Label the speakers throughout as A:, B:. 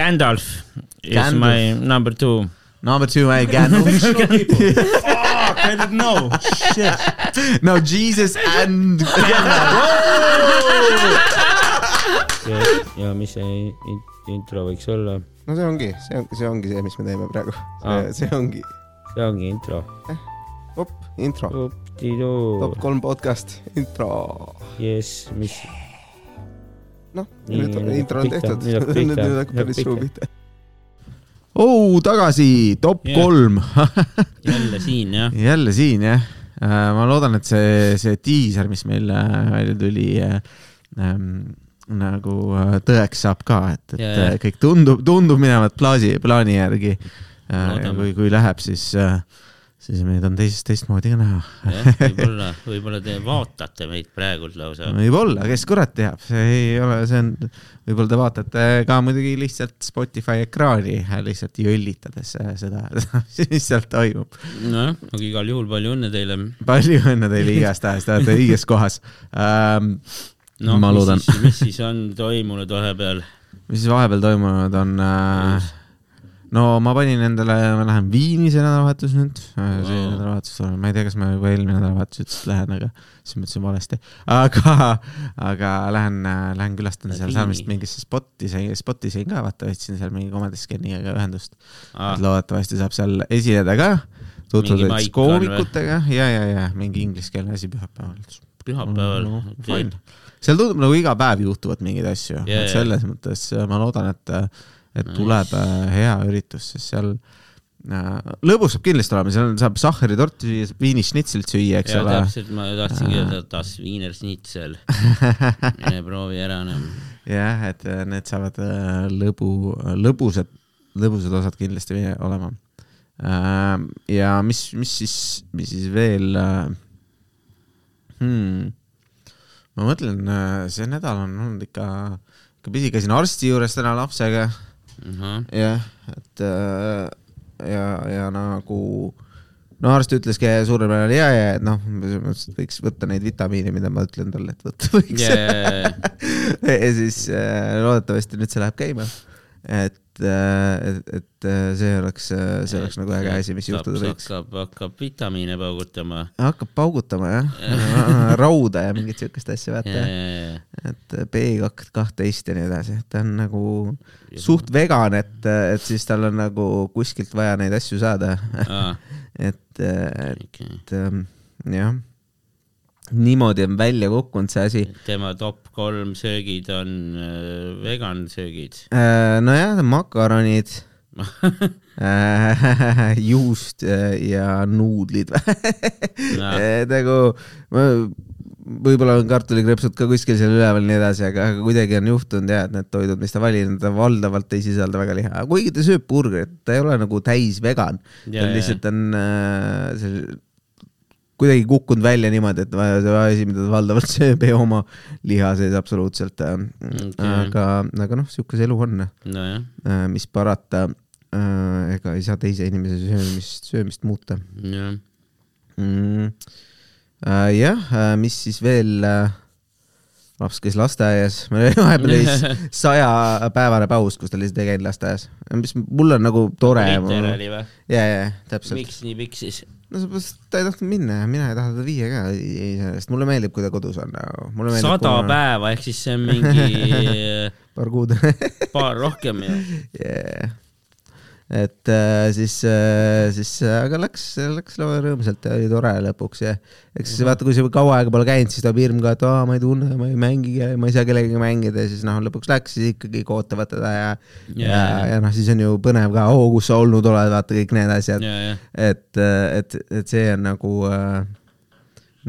A: Gandalf is
B: Gandalf.
A: my number two.
B: Number two, hey, Gandalf.
C: Fuck, I didn't know. Shit.
B: no, Jesus and
D: ja , ja mis see in- intro võiks olla ?
E: no see ongi , see on , see ongi see , mis me teeme praegu .
D: Aa.
E: see ongi ,
D: see ongi intro .
E: op , intro , top kolm podcast , intro .
D: jess , mis ,
E: noh ,
D: Nii,
E: nüüd on
D: nüüd
E: intro on
D: pihta, nüüd hakkab
E: tehtud , nüüd
D: pihta,
E: nüüd
D: nüüd
E: hakkab päris
D: pihta.
E: suu pihta .
B: oh, tagasi top
A: Jah.
B: yeah. kolm .
A: jälle siin jah .
B: jälle siin jah . ma loodan , et see , see diiser , mis meil äh, välja tuli äh, ähm, nagu äh, tõeks saab ka , et , et
A: Ja,
B: yeah,
A: ja.
B: yeah. kõik tundub , tundub minevat plaasi , plaani järgi .
A: Loodame.
B: kui , kui läheb , siis , siis meid on teisest teistmoodi ka näha .
A: jah , võib-olla , võib-olla te vaatate meid praegult lausa .
B: võib-olla , kes kurat teab , see ei ole , see on , võib-olla te vaatate ka muidugi lihtsalt Spotify ekraani äh, lihtsalt jõllitades äh, seda , mis seal toimub .
A: nojah , aga igal juhul palju õnne teile .
B: palju õnne teile igastahes , te olete õiges kohas ähm, . No, ma loodan ,
A: mis siis on toimunud vahepeal ?
B: mis siis vahepeal toimunud on äh, ? no ma panin endale , ma lähen Viini see nädalavahetus nüüd äh, , see
A: Vau.
B: nädalavahetus , ma ei tea , kas ma juba eelmine nädalavahetus ütlesin , et lähen , aga siis ma ütlesin valesti . aga , aga lähen , lähen külastan
A: Lähed
B: seal
A: Viini?
B: saamist mingisse spotti , spotti sain ka vaata , võtsin seal mingi Comedy Sceniga ühendust .
A: Ah.
B: et loodetavasti saab seal esineda ka , tutvuda
A: Mingi
B: näiteks
A: maik on või?
B: koomikutega ja , ja , ja mingi ingliskeelne asi pühapäeval
A: pühapäeval
B: no, .
A: okei
B: fine. , seal tundub nagu iga päev juhtuvad mingeid asju
A: Jaa,
B: yeah, , et
A: jaa.
B: selles mõttes äh, ma loodan , et , et tuleb äh, hea üritus , sest seal äh, lõbus saab kindlasti olema , seal saab sahharitorti süüa , saab viinišnitselit süüa , eks
A: ja
B: ole . Ah.
A: täpselt , ma tahtsingi öelda , et das Wiener Schnitzel . mine proovi ära enam .
B: jah , et äh, need saavad äh, lõbu , lõbusad , lõbusad osad kindlasti veel olema . ja mis , mis siis , mis siis veel ? Hmm. ma mõtlen , see nädal on olnud ikka , ikka pisi , käisin arsti juures täna lapsega , jah , et äh, ja , ja nagu no arst ütleski suurel määral ja , ja et noh , võiks võtta neid vitamiine , mida ma ütlen talle , et võtta võiks yeah. . ja siis äh, loodetavasti nüüd see läheb käima . et , et , et äh, see oleks , see oleks nagu äge asi , mis juhtuda võiks .
A: hakkab , hakkab vitamiine paugutama .
B: hakkab paugutama jah , rauda ja mingit siukest asja vaata , et äh, B kak- kahteist ja nii edasi , et ta on nagu suht vegan , et , et siis tal on nagu kuskilt vaja neid asju saada . et , et ähm, jah , niimoodi on välja kukkunud see asi
A: tema top kolm söögid on äh, vegan söögid .
B: Äh, nojah , makaronid äh, , juust äh, ja nuudlid
A: Jaa.
B: Eh, nagu ma- võib-olla on kartulikreepsud ka kuskil seal üleval ja nii edasi , aga , aga kuidagi on juhtunud ja et need toidud , mis ta valinud , valdavalt ei sisalda väga liha , kuigi ta sööb burgerit , ta ei ole nagu täis vegan .
A: Jaa,
B: ta
A: jaa.
B: lihtsalt on äh, see kuidagi kukkunud välja niimoodi , et va- see asi , mida ta valdavalt sööb , ei oma liha sees absoluutselt okay. . aga , aga noh , sihuke see elu on ,
A: nojah ,
B: Äh, mis parata . ega ei saa teise inimese söömist , söömist muuta
A: jah .
B: mm. . jah , mis siis veel ? laps käis lasteaias , meil oli vahepeal oli sajapäevane paus , kus ta lihtsalt ei käinud lasteaias , mis mul on nagu tore .
A: liiter
B: ja ,
A: oli või ?
B: ja täpselt .
A: miks nii pikk siis ?
B: no seepärast , et ta ei tahtnud minna ja mina ei taha teda viia ka iseenesest , mulle meeldib , kui ta kodus on nagu .
A: sada päeva ehk siis see on mingi äh,
B: paar kuud .
A: paar rohkem ju .
B: yeah. et äh, siis äh, , siis äh, aga läks , läks lausa rõõmsalt ja oli tore lõpuks ja eks siis vaata , kui sa kaua aega pole käinud , siis tuleb hirm ka , et aa , ma ei tunne , ma ei mängigi ja ma ei saa kellegagi mängida ja siis noh , lõpuks läks , siis ikkagi kõik ootavad teda ja ja ,
A: Jajah.
B: ja noh , siis on ju põnev ka , oo , kus sa olnud oled , vaata kõik need asjad .
A: ja , ja ,
B: et , et , et see on nagu äh,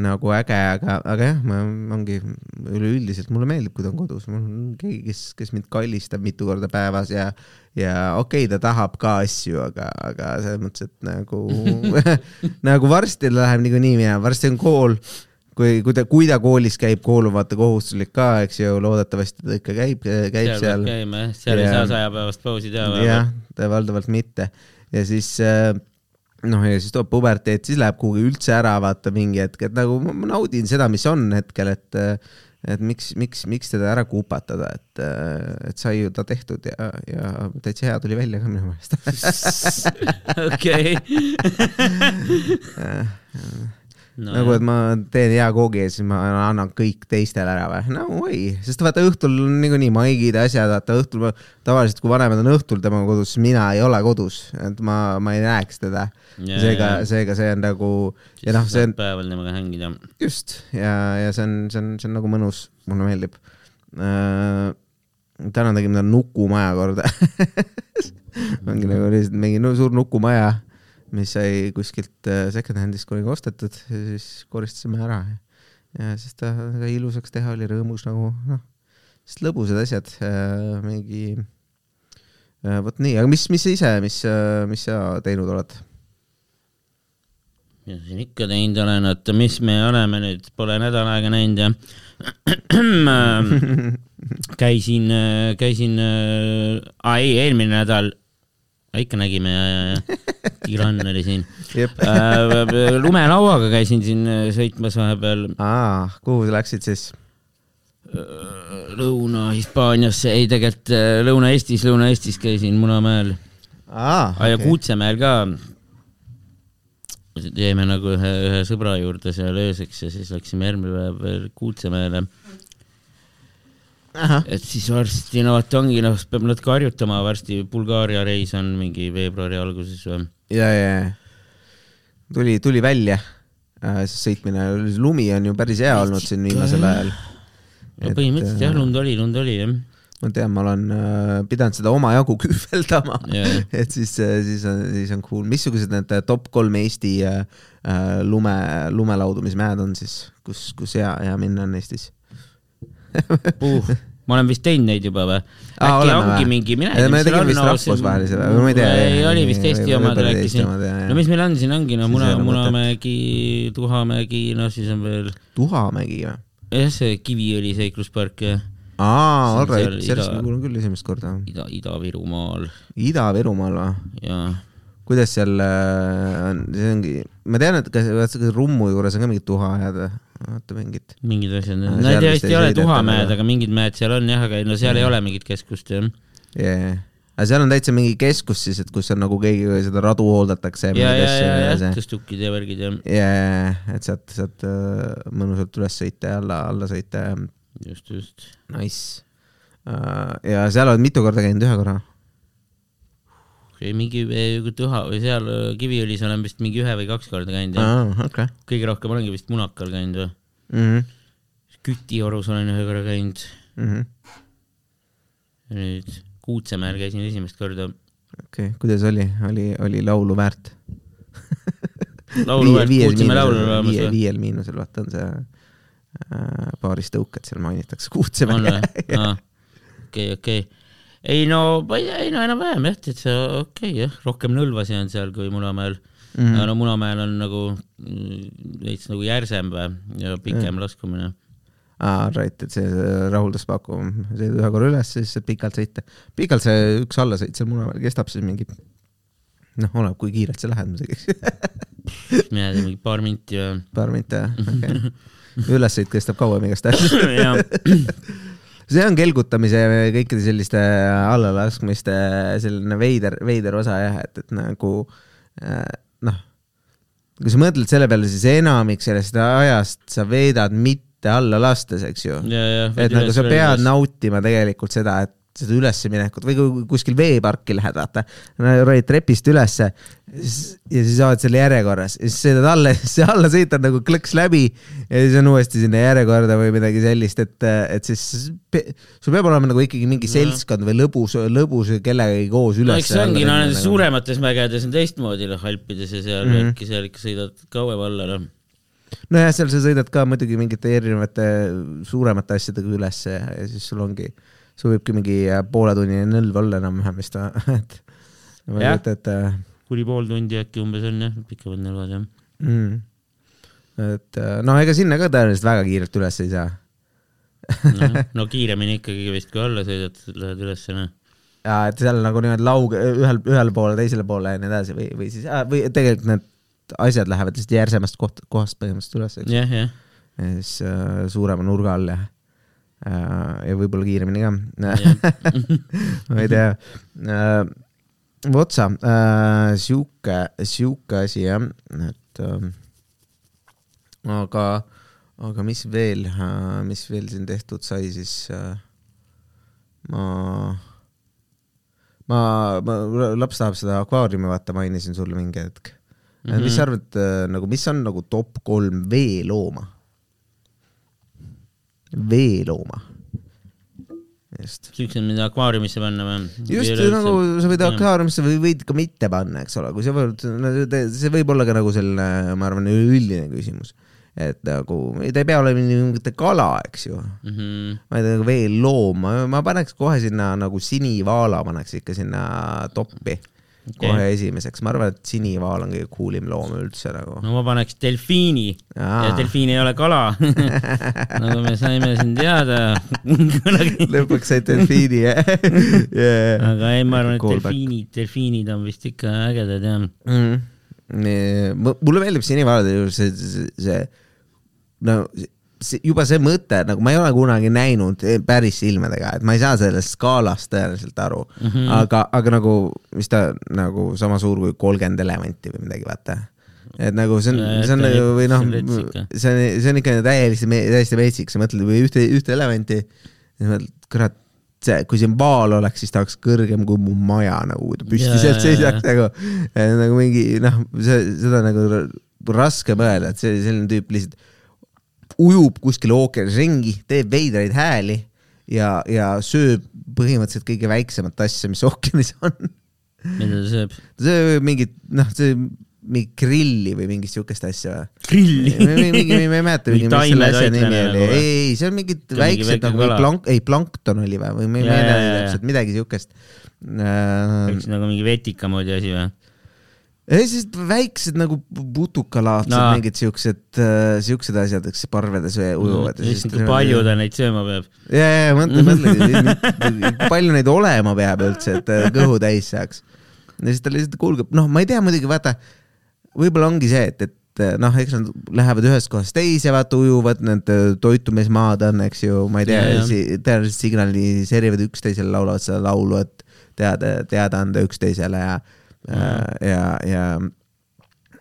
B: nagu äge , aga , aga jah , ma ongi üleüldiselt mulle meeldib , kui ta on kodus , mul on keegi , kes , kes mind kallistab mitu korda päevas ja ja okei okay, , ta tahab ka asju , aga , aga selles mõttes , et nagu nagu varsti läheb niikuinii minema , varsti on kool kui , kui ta , kui ta koolis käib , kool on vaata kohustuslik ka , eks ju , loodetavasti ta ikka käib , käib
A: seal
B: seal
A: peab käima jah , seal ei
B: Ja-
A: saa sajapäevast pausi teha
B: jah
A: vähemalt .,
B: valdavalt mitte ja siis äh, noh , ja siis tuleb puberteet , siis läheb kuhugi üldse ära , vaata mingi hetk , et nagu ma ma naudin seda , mis on hetkel , et äh, et miks , miks , miks teda ära kupatada , et , et sai ju ta tehtud ja , ja täitsa hea tuli välja ka minu meelest .
A: okei .
B: nagu , et ma teen hea koogi ja siis ma annan kõik teistele ära või ? no ei , sest vaata õhtul on niikuinii maigid ja asjad , vaata õhtul ma, tavaliselt kui vanemad on õhtul temaga kodus , siis mina ei ole kodus , et ma , ma ei näeks teda .
A: Jaa,
B: seega
A: jaa. ,
B: seega see on nagu ja noh , see on
A: päeval temaga hängida .
B: just ja , ja see on , see on , see on nagu mõnus , mulle meeldib äh, . täna tegime talle nukumaja korda . ongi nagu lihtsalt mingi nu- suur nukumaja , mis sai kuskilt äh, second-hand'ist kunagi ostetud ja siis koristasime ära . ja siis ta sai ilusaks teha , oli rõõmus nagu noh , sest lõbusad asjad äh, , mingi äh, vot nii , aga mis , mis sa ise , mis , mis sa teinud oled ?
A: mis ma siin ikka teinud olen , oota , mis me oleme nüüd , pole nädal aega näinud ja käisin , käisin , aa ei , eelmine nädal , ikka nägime ja , ja , ja Tiran oli siin .
B: jep ,
A: lumelauaga käisin siin äh, sõitmas vahepeal äh,
B: aa , kuhu sa läksid siis ?
A: Lõuna-Hispaaniasse , ei tegelikult äh, Lõuna-Eestis , Lõuna-Eestis käisin Munamäel
B: aa
A: okay. ja . Kuutsemäel ka . jäime nagu ühe , ühe sõbra juurde seal ööseks ja siis läksime järgmine päev veel Kuutsemäele . et siis varsti , no vot ongi , noh , peab natuke harjutama , varsti Bulgaaria reis on mingi veebruari alguses või .
B: ja , ja , ja tuli , tuli välja äh, see sõitmine , lumi on ju päris hea olnud siin viimasel ajal .
A: no põhimõtteliselt
B: äh,
A: jah ,. lund oli , lund oli jah .
B: ma tean , ma olen äh, pidanud seda omajagu kühveldama
A: Jaa.
B: et siis , siis on , siis on cool . missugused need äh, top kolm Eesti äh, äh, lume , lumelaudumismäed on siis , kus , kus hea , hea minna on Eestis ?
A: uh, . ma olen vist teinud neid juba või ?
B: Aa,
A: äkki
B: oleme
A: ongi
B: või?
A: mingi , mina
B: Ei, me
A: mis seal
B: tegime
A: on,
B: vist
A: no, siin-
B: rahvusvahelise või? Ma ei tea,
A: ei
B: jah,
A: oli
B: nii,
A: vist Eesti
B: võib-
A: omad
B: võib-olla Eesti
A: rääkisin
B: omad, jah, . jah.
A: no mis meil on siin ongi , no
B: Siis
A: Muna
B: ei , ole
A: Munamägi , Tuhamägi , no siis on veel ,
B: Tuhamägi või ?
A: jah , see Kiviõli seikluspark ja See
B: aa ,
A: on
B: alright
A: seal ,
B: sellest
A: ida-
B: ma kuulen küll esimest korda .
A: Ida , Ida-Virumaal
B: Ida-Virumaal või ?
A: ja
B: kuidas seal äh, on , see ongi , ma tean , et kas , kas Rummu juures on ka mingid tuhaajad või ? vaata mingid .
A: mingid asjad , no
B: Aa, Ah, seal
A: need
B: vist
A: vist
B: ei
A: ei ole
B: sõideta
A: Tuhamäed ,
B: väga.
A: aga mingid mäed seal on jah , aga ei, no seal ei ole mingit keskust jah .
B: Yeah. aga seal on täitsa mingi keskus siis , et kus on nagu keegi seda radu hooldatakse
A: ja , ja , ja , ja
B: ja ,
A: tõstukid ja värgid ja
B: ja , et sealt , sealt äh, mõnusalt üles sõita ja alla , alla sõita ja
A: just , just .
B: nice . ja seal oled mitu korda käinud , ühe korra ?
A: ei mingi eh, Tuha või seal eh, Kiviõlis olen vist mingi ühe või kaks korda käinud jah .
B: aa , okei . Mhm,
A: kõige rohkem olengi vist Munakal käinud või ? Kütiorus olen ühe korra käinud ,
B: mhm.
A: nüüd Kuutsemäel käisin esimest korda .
B: okei , kuidas oli , oli , oli laulu väärt ?
A: laulu väärt , Kuutsemäe laulu laulmas
B: viie ,
A: või ?
B: viiel miinusel , vaata on see äh, paaris tõuket seal mainitakse , kuulsime
A: on . või ? okei , okei . ei no , ma ei tea , ei no enam-vähem jah , täitsa okei okay, jah , rohkem nõlvasi on seal kui Munamäel
B: Mhm.
A: mm . -hmm. no Munamäel on nagu mm, veits nagu järsem või ja pikem mm. laskumine .
B: aa , right , et see see rahuldas pakuv , sõidad ühe korra üles , siis saad pikalt sõita . pikalt see üks allasõit seal Munamäel kestab siis mingi , noh , oleneb , kui kiirelt sa lähed muidugi ,
A: mina ei tea , mingi paar minti või ?
B: paar minti jah , okei okay. . ülessõit kestab kauem igastahes .
A: jah ,
B: see on kelgutamise ja kõikide selliste allalaskmiste selline veider , veider osa jah , et , et nagu äh, noh , kui sa mõtled selle peale , siis enamik sellest ajast sa veedad mitte alla lastes , eks ju .
A: ja , ja .
B: et nagu sa pead . nautima tegelikult seda , et seda ülesminekut või kui kuskil veeparki lähed , vaata , roid trepist ülesse s- ja siis oled seal järjekorras ja siis sõidad alla ja siis see allasõit on nagu klõks läbi ja siis on uuesti sinna järjekorda või midagi sellist , et , et siis pe- sul peab olema nagu ikkagi mingi seltskond või lõbus , lõbus kellegagi koos
A: no
B: üles . nagu.
A: eks see ongi , no nendes . suuremates mägedes on teistmoodi , noh , Alpides ja seal
B: Mhm.
A: mm , -hmm. seal ikka sõidad kauem alla , noh .
B: nojah , seal sa sõidad ka muidugi mingite erinevate suuremate asjadega ülesse ja ja siis sul ongi , sul võibki mingi äh, pooletunnine nõlv olla enam-vähem vist , et ma ei
A: Jah.
B: kujuta ette äh,
A: kuni pool tundi äkki umbes on jah , pikemad nõlvad jah .
B: mm. . et äh, no ega sinna ka tõenäoliselt väga kiirelt üles ei saa .
A: no, Noh, no kiiremini ikkagi vist , kui alla sõidad , lähed ülesse , noh .
B: ja et seal nagu niimoodi lauge ühel , ühel poole , teisele poole ja nii edasi või , või siis , või tegelikult need asjad lähevad lihtsalt järsemast koht , kohast põhimõtteliselt üles , eks .
A: jah , jah .
B: ja siis äh, suurema nurga all ja ja võib-olla kiiremini ka ma ei tea äh,. Votsa äh,, sihuke , sihuke asi jah , et äh, aga , aga mis veel äh, , mis veel siin tehtud sai siis äh, ? ma , ma , ma , laps tahab seda akvaariumi vaata , mainisin sulle mingi hetk mm . -hmm. mis sa arvad äh, nagu , mis on nagu top kolm veelooma ? veelooma . just ,
A: siuksed , mida akvaariumisse panna või ?
B: just nagu sa võid . akvaariumisse või võid ka mitte panna , eks ole , kui sa võid , see võib olla ka nagu selline , ma arvan , üleüldine küsimus . et nagu ta ei pea olema nii mingite kala , eks ju .
A: Mhm.
B: ma ei tea , nagu veeloom , ma paneks kohe sinna nagu sinivaala paneks ikka sinna toppi okay. . kohe esimeseks , ma arvan , et sinivaal on kõige coolim loom üldse nagu .
A: no ma paneks delfiini
B: Aa.
A: ja delfiin ei ole kala , nagu me saime siin teada
B: lõpuks said delfiini jah yeah. .
A: aga ei , ma arvan , et delfiinid , delfiinid on vist ikka ägedad jah .
B: mm. . mulle meeldib sinivalade juures see , see , see , no see, juba see mõte , nagu ma ei ole kunagi näinud e, päris silmadega , et ma ei saa sellest skaalast tõenäoliselt aru mm ,
A: Mhm.
B: -hmm. aga , aga nagu , mis ta nagu sama suur kui kolmkümmend elevanti või midagi , vaata et nagu see on , see on
A: Äh,
B: nagu või noh
A: see on , rets ikka.
B: see on , see on ikka täiesti , täiesti metsik , sa mõtled või ühte , ühte elevanti , siis mõtled , kurat , see , kui siin vaal oleks , siis ta oleks kõrgem kui mu maja nagu , kui ta püsti
A: Jaa,
B: sealt
A: jaa,
B: seisaks
A: jaa.
B: nagu , nagu mingi noh , see , seda nagu r- raske mõelda , et see selline tüüp lihtsalt ujub kuskil ookeanis ringi , teeb veidraid hääli ja , ja sööb põhimõtteliselt kõige väiksemat asja , mis ookeanis on .
A: mida ta sööb ?
B: ta sööb mingit , noh , see mingi grilli või mingit siukest asja või ?
A: grilli .
B: mingi , mingi , ma ei mäleta , mis
A: Mingi
B: selle
A: taime
B: asja
A: toitlane
B: nimi oli ,
A: nagu või?
B: ei , ei , see on mingid
A: mingi väike
B: väiksed nagu
A: kala.
B: plank- , ei plankton oli või , või ma ei
A: Jaa,
B: mäleta
A: jaa, jaa.
B: täpselt midagi siukest .
A: üks nagu mingi vetika moodi asi või ?
B: Äh, ei , siis väiksed nagu putukalaadsed no.
A: Aa. ,
B: mingid siuksed , siuksed asjad , eks parvedes ue- ujuvad .
A: issand , kui nagu palju ta neid sööma peab .
B: ja , ja mõtle , mõtle , kui palju neid olema peab üldse , et äh, kõhu täis saaks . ja siis ta lihtsalt kulgeb , noh , ma ei tea muidugi , vaata , võib-olla ongi see , et , et äh, noh , eks nad lähevad ühest kohast teise , vaata ujuvad , need äh, toitumismaad on , eks ju , ma ei tea
A: Jaa, jaa.
B: si , tõenäoliselt signaliseerivad üksteisele , laulavad seda laulu , et teada , teada anda üksteisele ja ,
A: Mhm.
B: ja , ja ,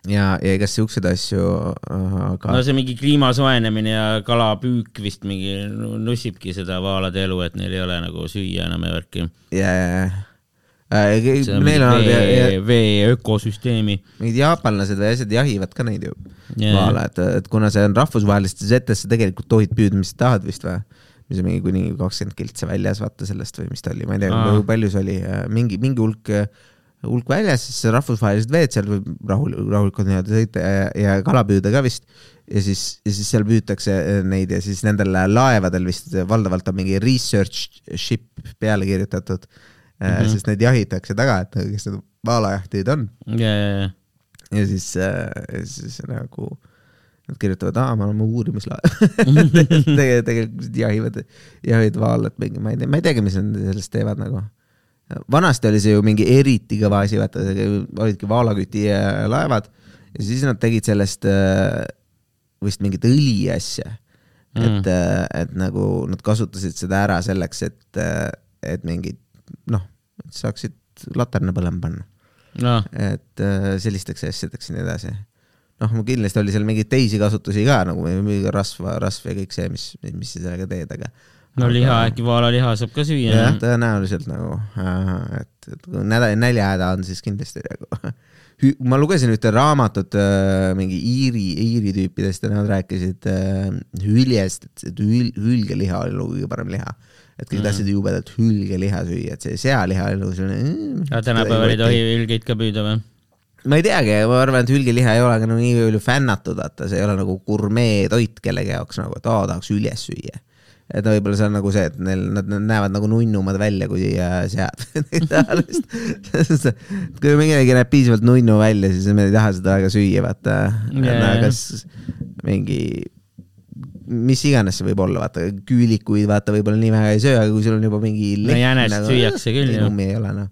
B: ja , ja igast siukseid asju , aga
A: no see mingi kliima soojenemine ja kalapüük vist mingi nu- nussibki seda vaalade elu , et neil ei ole nagu süüa enam ja värki .
B: ja , ja , ja .
A: vee
B: Äh, meil on olnud ja- ja- ,
A: vee ökosüsteemi .
B: mingid jaapanlased või asjad jahivad ka neid ju
A: Jaa.
B: yeah. maale , et , et kuna see on rahvusvahelistes vetes , sa tegelikult tohid püüda , mis sa tahad vist või ? mis on mingi kuni kakskümmend kiltsa väljas , vaata sellest või mis ta oli , ma ei tea ,
A: Aa.
B: kui palju see oli , mingi , mingi hulk , hulk väljas , siis see rahvusvahelised veed seal võib rahul , rahulikult nii-öelda sõita ja, ja kala püüda ka vist . ja siis , ja siis seal püütakse äh, neid ja siis nendel laevadel vist valdavalt on mingi research ship peale kirjutatud mm .
A: Mhm.
B: -hmm. sest neid jahitakse taga , et kes need vaalajahtijad on
A: ja , ja , ja .
B: ja siis , siis nagu nad kirjutavad , aa , me oleme uurimislaev Tege, . tegelikult jahivad , jahivad vaalat mingi , ma ei tea , ma ei teagi , mis nad sellest teevad nagu . vanasti oli see ju mingi eriti kõva asi , vaata , olidki vaalaküti äh, laevad ja siis nad tegid sellest äh, vist mingit õli asja mm. . et , et nagu nad kasutasid seda ära selleks , et , et mingid noh , saaksid laterna põlema panna
A: noh ,
B: et äh, sellisteks asjadeks ja nii edasi . noh , mul kindlasti oli seal mingeid teisi kasutusi ka nagu mingi rasva , rasv ja kõik see , mis , mis sa sellega teed , aga .
A: no liha , äkki vaalaliha saab ka süüa .
B: jah , tõenäoliselt nagu , et , et kui näda- , näljahäda on , siis kindlasti nagu Hü- ma lugesin ühte raamatut äh, mingi Iiri , Iiri tüüpidest ja nad rääkisid äh, hüljest , et , et hül- , hülgeliha oli nagu kõige parem liha . et
A: Mhm.
B: kõik tahtsid jubedat hülgeliha süüa , et see sealiha oli nagu selline .
A: aga tänapäeval ei tohi hülgeid ka püüda või ?
B: ma ei teagi , ma arvan , et hülgeliha ei ole ka nagu nii palju fännatud , vaata , see ei ole nagu gurmeetoit kellegi jaoks nagu , et aa , tahaks hüljes süüa . et no võib-olla see on nagu see , et neil , nad nad näevad nagu nunnumad välja kui äh, sead . kui midagi näeb piisavalt nunnu välja , siis me ei taha seda väga süüa , vaata
A: Jajah.
B: yeah. . kas mingi , mis iganes see võib olla , vaata , küülikuid vaata , võib-olla nii väga ei söö , aga kui sul on juba mingi .
A: No jänest süüakse küll,
B: ju .
A: jah.
B: kummi ei ole noh .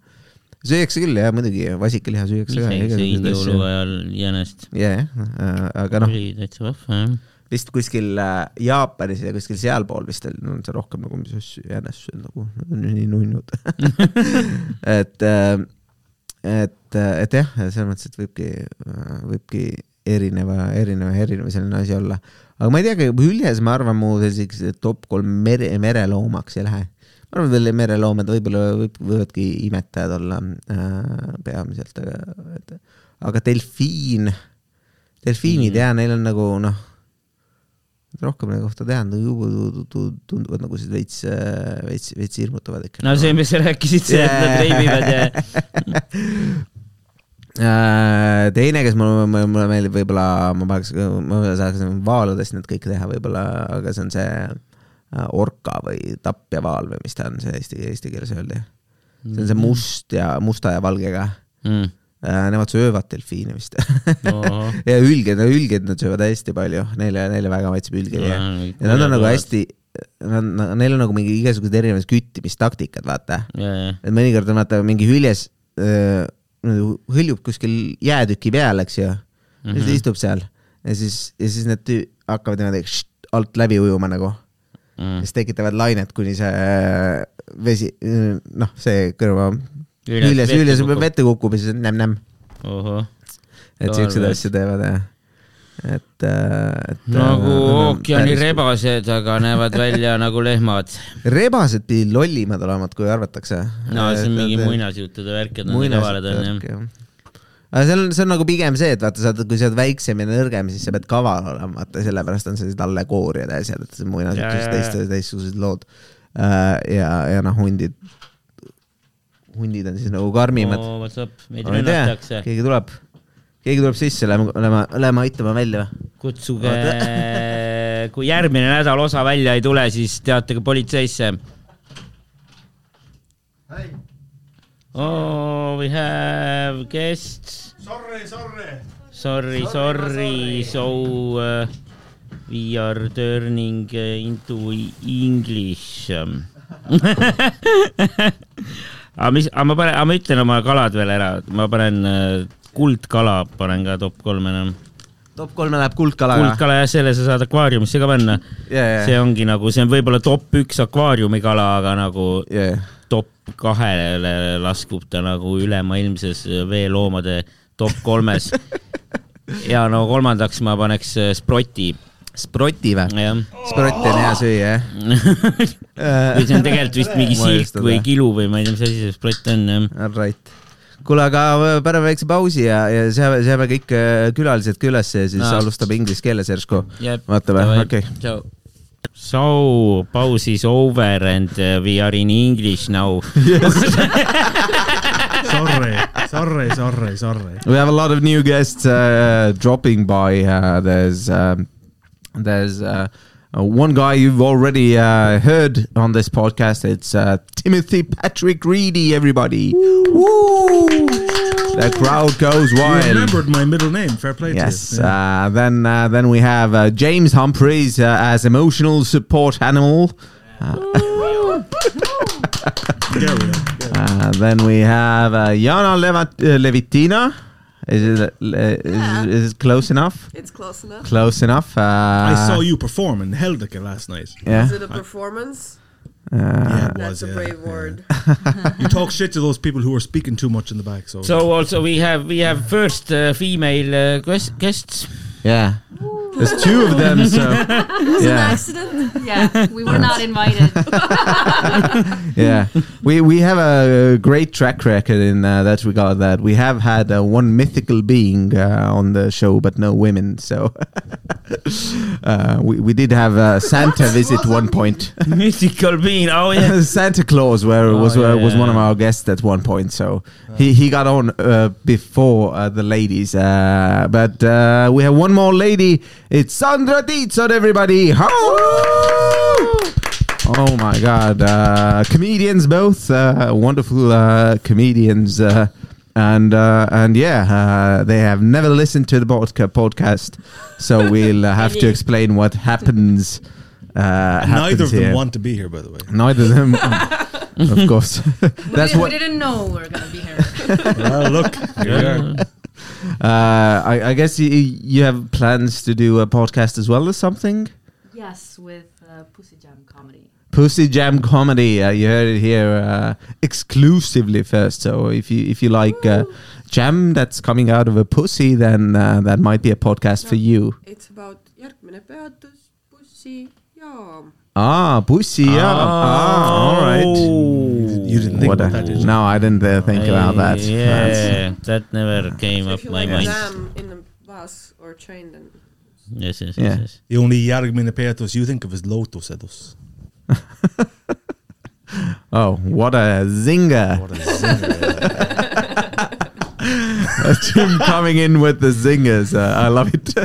B: süüakse küll jah , muidugi , vasikaliha süüakse ka .
A: ise sõin jõuluajal jänest .
B: jajah , aga noh ,
A: oli täitsa vahva jah .
B: vist kuskil äh, Jaapanis ja kuskil sealpool vist oli- no, on see rohkem nagu mis asju jänesed nagu nad on nii nunnud . et , et , et jah , selles mõttes , et võibki , võibki erineva , erineva , erineva selline asi olla . aga ma ei tea , hüljes ma arvan , mu selliseks top kolm mere , mereloomaks ei lähe . ma arvan , et veel mereloomad võib-olla võib, võivadki imetajad olla äh, peamiselt , aga , et aga delfiin , delfiinid mm. ja neil on nagu noh , rohkem neile kohta teha , nad ju- tu- tu- tunduvad nagu siis veits , veits , veits hirmutavad ikka .
A: no see , mis sa rääkisid , see , et nad reibivad ja
B: Äh, teine , kes mulle , mulle meeldib , võib-olla ma paneks , ma saaks vaaludest need kõik teha võib-olla , aga see on see äh, orka või tapjavaal või mis ta on , see eesti , eesti keeles öeldi . see
A: Mhm.
B: on see must ja , musta ja valgega
A: mm. .
B: äh, . Nemad söövad delfiine vist .
A: Ohoh.
B: ja hülged , hülged nad söövad hästi palju , neile , neile väga maitseb hülged ja , ja nad on nagu . hästi , nad , neil on nagu mingi igasugused erinevad küttimistaktikad , vaata
A: ja , ja ,
B: et mõnikord on vaata mingi hüljes öö, nagu hõljub kuskil jäätüki peal , eks ju mm .
A: Mhm,
B: -hmm. siis istub seal ja siis , ja siis need tüü- hakkavad niimoodi kšt, alt läbi ujuma nagu
A: Mhm.
B: mm. . siis tekitavad lainet , kuni see öö, vesi , noh , see kõrva
A: Hüljes
B: hüljes ,
A: vette
B: hüljes
A: kukub.
B: vette kukub ja siis on nämm-nämm .
A: ohoh .
B: et
A: Tarvis.
B: siukseid asju teevad jah . et , et . äh,
A: nagu ookeanirebased , aga näevad välja nagu lehmad .
B: rebased pidid lollimad olema , kui arvatakse .
A: no see on mingi muinasjuttude värk , et nad nii kavalad on jah .
B: muinasjutt . aga see on , see on nagu pigem see , et vaata , sa oled , kui sa oled väiksem ja nõrgem , siis sa pead kaval olema , vaata sellepärast on sellised allegooriad ja asjad , et see muinasjutus
A: Jaa, jaa,
B: teist , teistsugused lood . ja , ja noh , hundid , hundid on siis nagu karmimad .
A: what's up , meid
B: ma ei tea ,
A: rünnatakse .
B: keegi tuleb , keegi tuleb sisse , lähme , lähme , lähme aitame välja või ?
A: kutsuge , kui järgmine nädal osa välja ei tule , siis teatage politseisse . Oh, we have guests . Sorry , sorry . Sorry , sorry , so uh, we are turning uh, into english . Um, aga Ah, mis , aga ma panen , aga ma ütlen oma kalad veel ära , ma panen uh, kuldkala panen ka top kolme enam
B: top kolme läheb kuldkala .
A: kuldkala jah , selle sa saad akvaariumisse ka panna . see
B: jajah ,
A: ongi nagu , see on võib-olla top üks akvaariumikala , aga nagu
B: jajah .
A: top kahele laskub ta nagu ülemaailmses veeloomade top kolmes . ja no kolmandaks ma paneks äh, sproti ,
B: sproti või ?
A: jah .
B: sprotti on hea süüa jah
A: või see on tegelikult vist mingi silk või kilu või ma ei tea , mis asi see sprott on jah .
B: Alright . kuule , aga äh, paneme väikse pausi ja , ja seame , seame kõik äh, külalised ka ülesse ja siis no.
A: Aa.
B: alustame inglise keeles järsku .
A: Jep.
B: vaatame ,
A: Davai.
B: okei .
A: So, so pause is over and uh, we are in english now
C: Sorry, sorry, sorry , sorry .
B: We have a lot of new guests uh, dropping by uh, . There's um, , there's uh, one guy you've already uh, heard on this podcast . It's uh, Timothy Patrick Reedy , everybody . The crowd goes
C: You
B: wild .
C: remembered my middle name. Fair play
B: Yes.
C: to you.
B: Uh, then uh, then we have uh, James Humphreys uh, as emotional support animal. Uh,
C: Yeah, there we go. Yeah.
B: Uh, then we have uh, Jana Levat- uh, Levitina. Is it, uh, is, is it close enough?
F: It's close enough.
B: Close enough. Uh,
C: I saw you perform in Heldeke last night.
B: Yeah. uh,
F: Is it a performance?
C: Yeah, it was,
F: That's a
C: yeah,
F: brave
C: yeah.
F: word.
C: You talk shit to those people who are speaking too much in the back. So,
A: So also we have we have first uh, female uh, guest, guests.
B: Yeah. There's two of them, so yeah,
G: accident? Yeah, we were not invited.
B: yeah. We we have a great track record in uh, that regard. That we have had uh, one mythical being uh, on the show, but no women. So uh, we we did have uh, Santa visit one point.
A: Mythical being. Oh yeah.
B: Santa Claus, where
A: Oh,
B: was
A: yeah,
B: uh, was
A: yeah,
B: one of
A: yeah. Oh.
B: our guests at one point, so he, he got on uh, before uh, the ladies. Uh, but uh, we have one more lady. It's Sandra Dietzon, everybody. Ho! Oh my God! Uh, comedians, both uh, wonderful uh, comedians, uh, and uh, and yeah, uh, they have never listened to the podca- podcast, so we'll uh, have to explain what happens. Uh,
C: neither of
B: happens
C: them
B: here.
C: want to be here, by the way.
B: Neither of them, of course.
F: we,
B: That's
F: didn't- we
B: what
F: didn't know we were gonna be here.
C: well, look, here we are.
B: Uh, I, I guess you, you have plans to do a podcast as well as something.
G: Yes, with uh, Pussy Jam comedy.
B: Pussy Jam comedy. Uh, you heard it here uh, exclusively first. So if you if you like uh, jam that's coming out of a pussy, then uh, that might be a podcast for you.
F: It's about järgmine peatus , bussi jaam .
B: Ah, pussy. Yeah. Ah, all right.
C: Oh. You didn't think
B: What
C: about
B: a-
C: that, did you?
B: No, I didn't uh, think about that. That's-
A: Yeah, that never came up
F: If you
A: my
F: like
A: mind.
F: jam in a bus or train then
A: Yes, yes,
B: Yeah.
A: yes, yes.
C: The only järgmine peatus you think of is Lotusedus.
B: oh, what a zinger!
C: What is it?
B: Jim coming in with the zingers. Uh, I love it.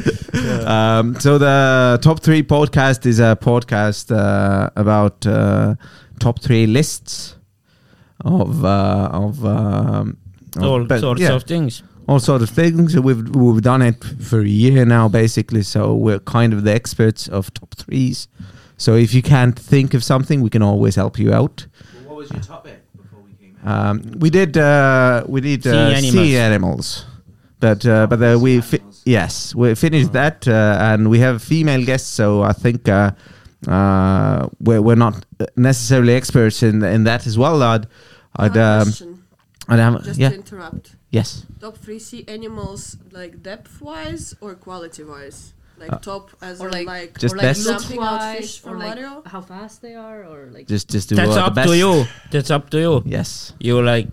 B: um, so the top three podcast is a podcast uh, about uh, top three lists of uh, of. Um, of-
A: All
B: but-
A: sorts
B: yeah,
A: of things.
B: all sorts of things. We've we've done it for a year now, basically. So we're kind of the experts of top threes. So if you can't think of something, we can always help you out.
E: What was your topic before we came
B: Um, we did uh, we did
A: Sea
B: uh,
A: animals.
B: sea animals, but uh, but uh, we fi- yes we finished
E: Uh-huh.
B: that uh, and we have female guests, so I think uh, uh, we're we're not necessarily experts in in that as well. I'd I'd,
F: Another
B: um, I'd have,
F: question, just
B: yeah
F: to interrupt
B: yes
F: top three sea animals like depth wise or quality wise like top as
G: Or
F: in,
G: like-
F: like
B: Uh, Just
G: or like
B: best?
G: look
F: Jumping out fish
G: wise, or
F: from
G: like
F: Mario?
G: how fast they are, or like
B: just just do
A: That's
B: uh, the
A: up
B: best.
A: to you. That's up to you.
B: Yes.
A: You like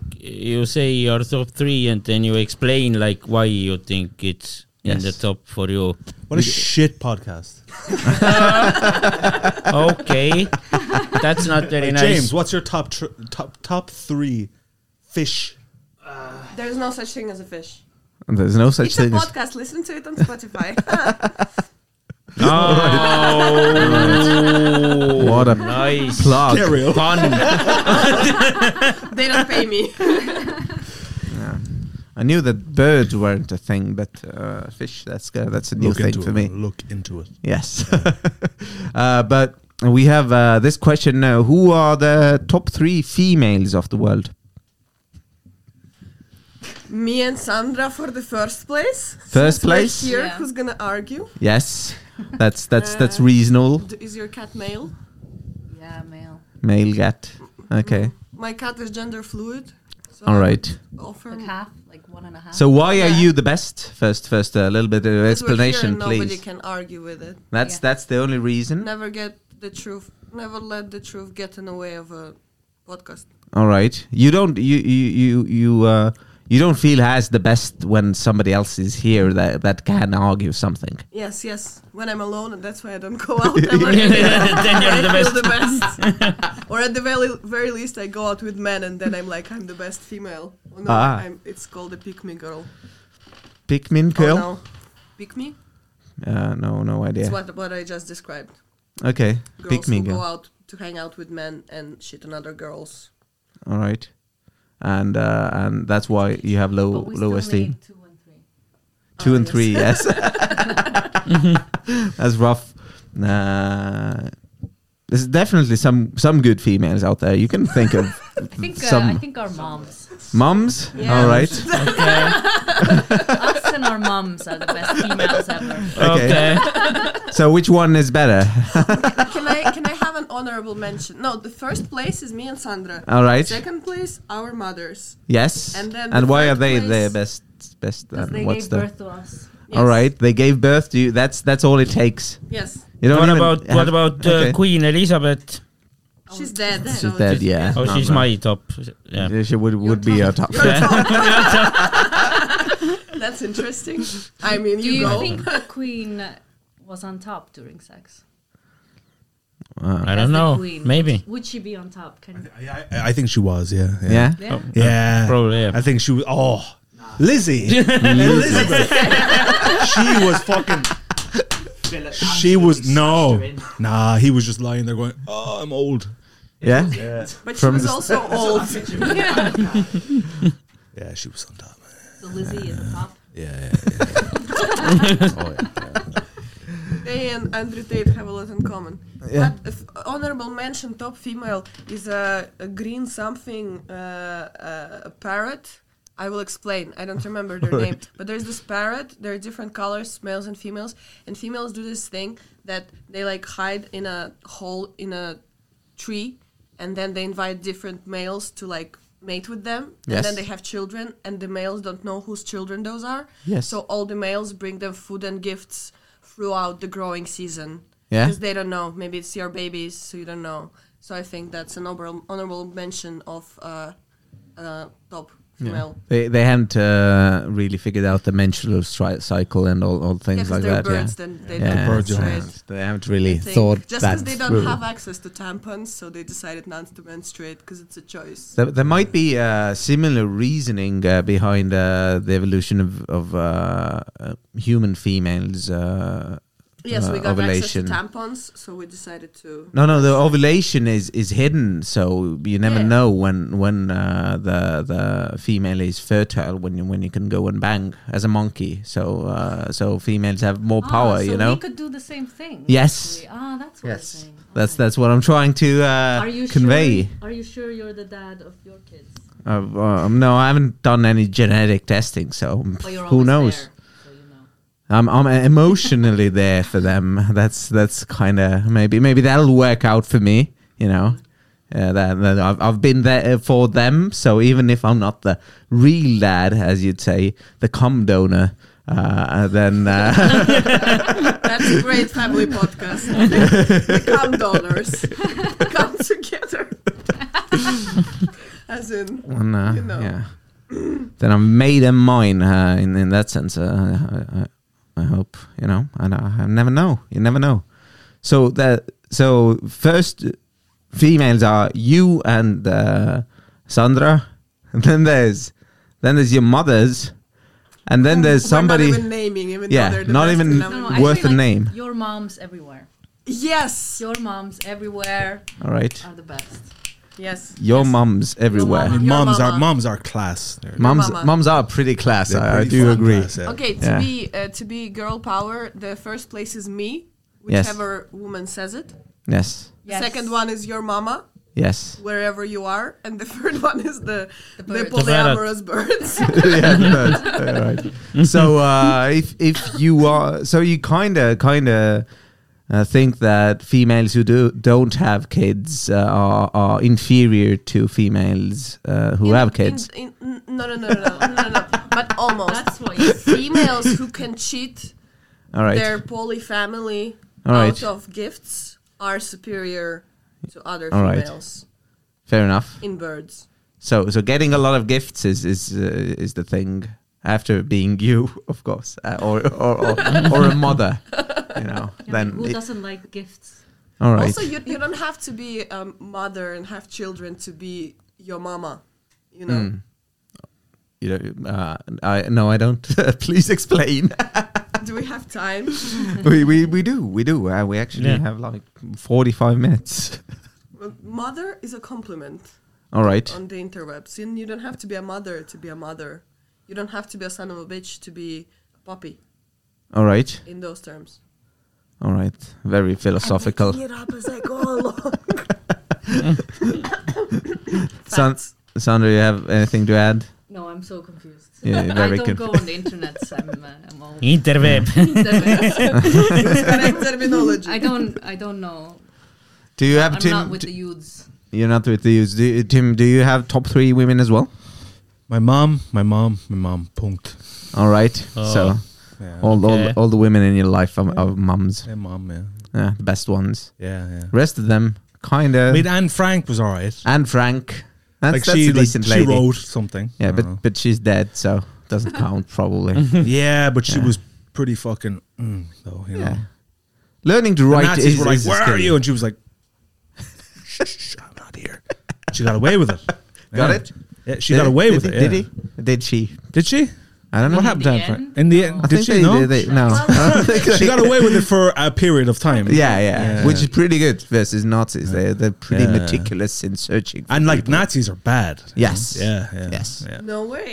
A: you say your top three, and then you explain like why you think it's in
B: Yes.
A: the top for you.
C: What a shit podcast.
A: okay, that's not very
C: Hey,
A: nice.
C: James, what's your top tr- top top three fish?
F: there's no such thing as a fish
B: There's no such
F: it's a
B: thing. as-
F: podcast listen to it on Spotify
A: Oh,
B: What a
A: nice
B: plug.
C: Ariel.
A: pun.
F: they don't pay me
B: I knew that birds weren't a thing, but uh, fish. That's uh, that's a new
C: Look
B: thing
C: into
B: for
C: it.
B: me.
C: Look into it.
B: Yes. uh, but we have uh, this question now. Who are the top three females of the world?
F: me and Sandra for the first place
B: First
F: Since we're
B: place?
F: here
G: Yeah.
F: who's gonna argue
B: Yes. That's that's that's
F: Uh,
B: reasonable.
F: D- is your cat male
G: yeah, male.
B: Male cat. Okay.
F: my cat is gender fluid so
B: All right.
F: offer
G: Like half, like one and a half.
B: So why are
F: Yeah.
B: you the best? First, first a little bit of
F: Because we're here
B: explanation,
F: and nobody
B: please. Hmm?
F: can argue with it
B: That's
G: Yeah.
B: that's the only reason.
F: never get the truth never let the truth get in the way of a podcast
B: All right. You don't you you you you uh you don't feel as the best when somebody else is here that that can argue something.
F: yes yes when i'm alone and that's why i don't go out
A: then you're the
F: I feel
A: best.
F: the best. or at the very, very least, I go out with men and then I'm like, I'm the best female. Oh, no,
B: Ah.
F: I'm, it's called a pick me girl.
B: Pikmin girl?
F: Oh, no. Pick me?
B: Uh, no, no
F: It's
B: idea.
F: what, what I just described.
B: Okay,
F: Girls
B: pick me
F: who
B: girl.
F: go out to hang out with men and shit on other girls.
B: All right, and uh, and that's why you have low
G: But we
B: low
G: still
B: esteem.
G: need two and three.
B: Two
F: Ah,
B: and
F: yes.
B: three, yes. that's rough. Uh, there's definitely some some good females out there. You can think of
G: I think uh, I
B: some
G: think our moms,
B: mums.
F: Yeah.
B: All right,
G: us and our moms are the best females ever.
A: Okay.
B: so which one is better?
F: can I can I have an honorable mention? No, the first place is me and Sandra.
B: All right,
F: Second place, our mothers.
B: yes.
F: and then
B: and
F: the
B: why are
F: third
B: they the
F: place-
B: best? Best.
G: Because
B: um,
G: they
B: what's
G: gave
B: the?
G: birth to us.
B: All
F: Yes.
B: right, they gave birth to you. That's that's all it takes.
F: Yes.
B: You don't
A: What
B: even
A: about
B: have-
A: what about uh,
B: Uh-huh. okay.
A: Queen Elizabeth?
F: She's dead.
B: She's dead, yeah.
A: Oh,
B: No,
A: she's
B: no.
A: my top. Yeah.
B: Yeah, She would would be a top.
F: That's interesting. I mean,
G: Do
F: you,
G: you
F: go.
G: think Queen was on top during sex?
A: I
G: As
A: don't
G: the
A: know.
G: queen,
A: Maybe.
G: Would she be on top? Can
C: I, I, I think she was. Yeah.
B: Yeah.
G: yeah.
C: Yeah.
A: Probably, yeah.
C: I think she was. Oh, Lizzie. Elizabeth. she was fucking. She was no, nah. He was just lying there going, "Oh, I'm old."
B: Yeah.
F: But she
B: From
F: was
B: the-
F: also old.
C: Yeah, she was on top. man.
G: So Lizzie is on top.
C: Yeah, yeah, yeah. oh, yeah.
F: They and Andrew Tate have a lot in common.
B: Uh, Yeah.
F: But if honorable mention top female is a, a green something uh, uh, parrot I will explain. I don't remember their name, but there's this parrot. There are different colors, males and females, and females do this thing that they like hide in a hole in a tree, and then they invite different males to like mate with them,
B: Yes.
F: and then they have children, and the males don't know whose children those are.
B: Yes.
F: So all the males bring them food and gifts throughout the growing season.
B: Yeah.
F: Because they don't know. Maybe it's your babies, so you don't know. So I think that's an honorable, honorable mention of uh, uh, top female.
B: They they haven't uh, really figured out the menstrual stri- cycle and all, all
F: Yeah,
B: things
F: because
B: like
F: they're
B: that.
F: birds,
B: yeah.
F: then they
B: Yeah,
F: don't
C: birds,
F: menstruate.
C: yeah.
B: They haven't really
F: Think.
B: thought that
F: Just because they don't
B: through.
F: have access to tampons, so they decided not to menstruate because it's a choice.
B: There, there might be uh, similar reasoning uh, behind uh, the evolution of, of uh, uh, human females. Uh,
F: Yes,
B: uh,
F: we got
B: ovulation.
F: access to tampons, so we decided to.
B: No, no, the ovulation is, is hidden, so you never
F: Yeah.
B: know when when uh, the the female is fertile when you, when you can go and bang as a monkey. So uh, so females have more power,
G: Ah, so
B: you know.
G: we could do the same thing.
B: Yes.
G: actually. Ah, that's what
B: Yes.
G: you're saying.
B: That's
G: Okay.
B: that's what I'm trying to uh,
G: Are you
B: convey.
G: Sure, are you sure you're the dad of your kids?
B: Uh, um, no, I haven't done any genetic testing, so
G: But you're
B: who
G: always
B: knows?
G: there, so you know.
B: I'm I'm emotionally there for them. That's that's kind of maybe maybe that'll work out for me. You know, uh, that, that I've I've been there uh, for them. So even if I'm not the real dad, as you'd say, the cum donor, uh, then uh,
F: That's a great family podcast. the cum donors come together. As in,
B: then, uh,
F: You know.
B: yeah, then I've made them mine. Uh, in in that sense, uh, I, I, I hope you know. And I, I never know. You never know. So that so first females are you and uh, Sandra, and then there's then there's your mothers, and then there's
F: Mm. we're
B: somebody.
F: not even naming, even
B: Yeah,
F: though they're the
B: not
F: best
B: even-
F: in
B: No,
F: numbers.
B: no, I- Worth
G: actually,
B: a
G: like,
B: name.
G: Your moms everywhere.
F: yes,
G: Your moms everywhere
B: All right,
G: are the best.
F: yes.
B: your mums everywhere.
F: Your
C: Mums are
F: mama.
C: mums are class. They're-
B: Mums,
F: mama.
B: mums are pretty class.
C: they're
B: I, I
C: pretty
B: do
C: fun
B: agree.
C: class, yeah.
F: Okay, to
B: Yeah.
F: be uh, to be girl power, the first place is me,
B: Yes.
F: whichever woman says it.
B: Yes,
G: Yes.
F: Second one is your mama,
B: yes.
F: wherever you are, and the third one is the the,
G: birds.
F: polyamorous birds.
B: yeah, birds. Yeah, right. So uh, if if you are so you kind of kind of uh, think that females who do don't have kids uh, are are inferior to females uh, who
F: In-
B: have
F: in-
B: kids.
F: in- n- no, no, no, no, no, no, no, but almost.
G: That's what you
F: Females who can cheat
B: All right.
F: their poly family
B: All
F: out
B: right.
F: of gifts are superior to other
B: All right.
F: females
B: Fair enough.
F: in birds.
B: So so getting a lot of gifts is is uh, is the thing after being you, of course, uh, or, or or or a mother. You know.
G: Yeah, but
B: then
G: who
B: it-
G: doesn't like gifts?
B: all right.
F: Also, you, you don't have to be a mother and have children to be your mama, you know.
B: Hmm. You don't- uh, I no, I don't. Please explain. Hmm.
F: Do we have time?
B: we, we we do we do uh, we actually
A: Yeah.
B: have like 45 minutes
F: Well, mother is a compliment
B: all right
F: on the interwebs, and you don't have to be a mother to be a mother. You don't have to be a son of a bitch to be a puppy
B: all right
F: in those terms.
B: all right very philosophical
F: Making it up as I go along.
B: San-
F: Facts.
B: sandra you have anything to add
G: No, I'm so confused.
B: Yeah,
G: I
B: very
G: don't
B: conf-
G: go on the internet. so I'm, uh, I'm all
A: interveeb .
F: Correct terminology.
G: I don't. I don't know.
B: do you have
G: I'm
B: tim
G: not with
B: d-
G: the youths.
B: you're not with the youths. do you, tim do you have top three women as well
C: My mom, my mom, my mom. Punkt.
B: all right
C: Oh,
B: so
C: Yeah.
B: all,
A: okay.
B: all all the women in your life are, are mums
C: My mom, yeah.
B: yeah, the best ones
C: Yeah, yeah.
B: rest of them kind
C: I
B: of
C: mean, Anne Frank was all right.
B: and frank that's,
C: like
B: that's
C: she,
B: a
C: like,
B: decent
C: she
B: lady
C: wrote something.
B: yeah
C: I
B: but
C: don't
B: but she's dead so doesn't count probably
C: know. yeah, but she
B: Yeah.
C: was pretty fucking. Mm, though, you
B: yeah
C: know.
B: learning to
C: The
B: write
C: Nazis
B: is,
C: were like,
B: is a
C: "Where
B: skill."
C: are you?" And she was like, "Shh, shh, "I'm not here." She got away with it.
B: Got
C: Yeah.
B: it?
C: Yeah, she got away with
B: did,
C: it.
B: Did
C: yeah.
B: he? Did she?
C: Did she?
B: I don't know.
C: What
G: In
C: happened to
G: the
C: Anne Frank?
G: end,
C: In the end,
B: I
C: did
B: think
C: she?
B: they,
C: no,
B: They, they, no. I don't think
C: she
B: they-
C: got away with it for a period of time.
B: Yeah, yeah,
C: Yeah.
B: which is pretty good versus Nazis. They they're pretty
C: Yeah.
B: meticulous in searching.
C: and like Nazis are bad. you
B: Yes.
C: know? Yeah. yeah
B: Yes.
C: Yeah.
F: no way.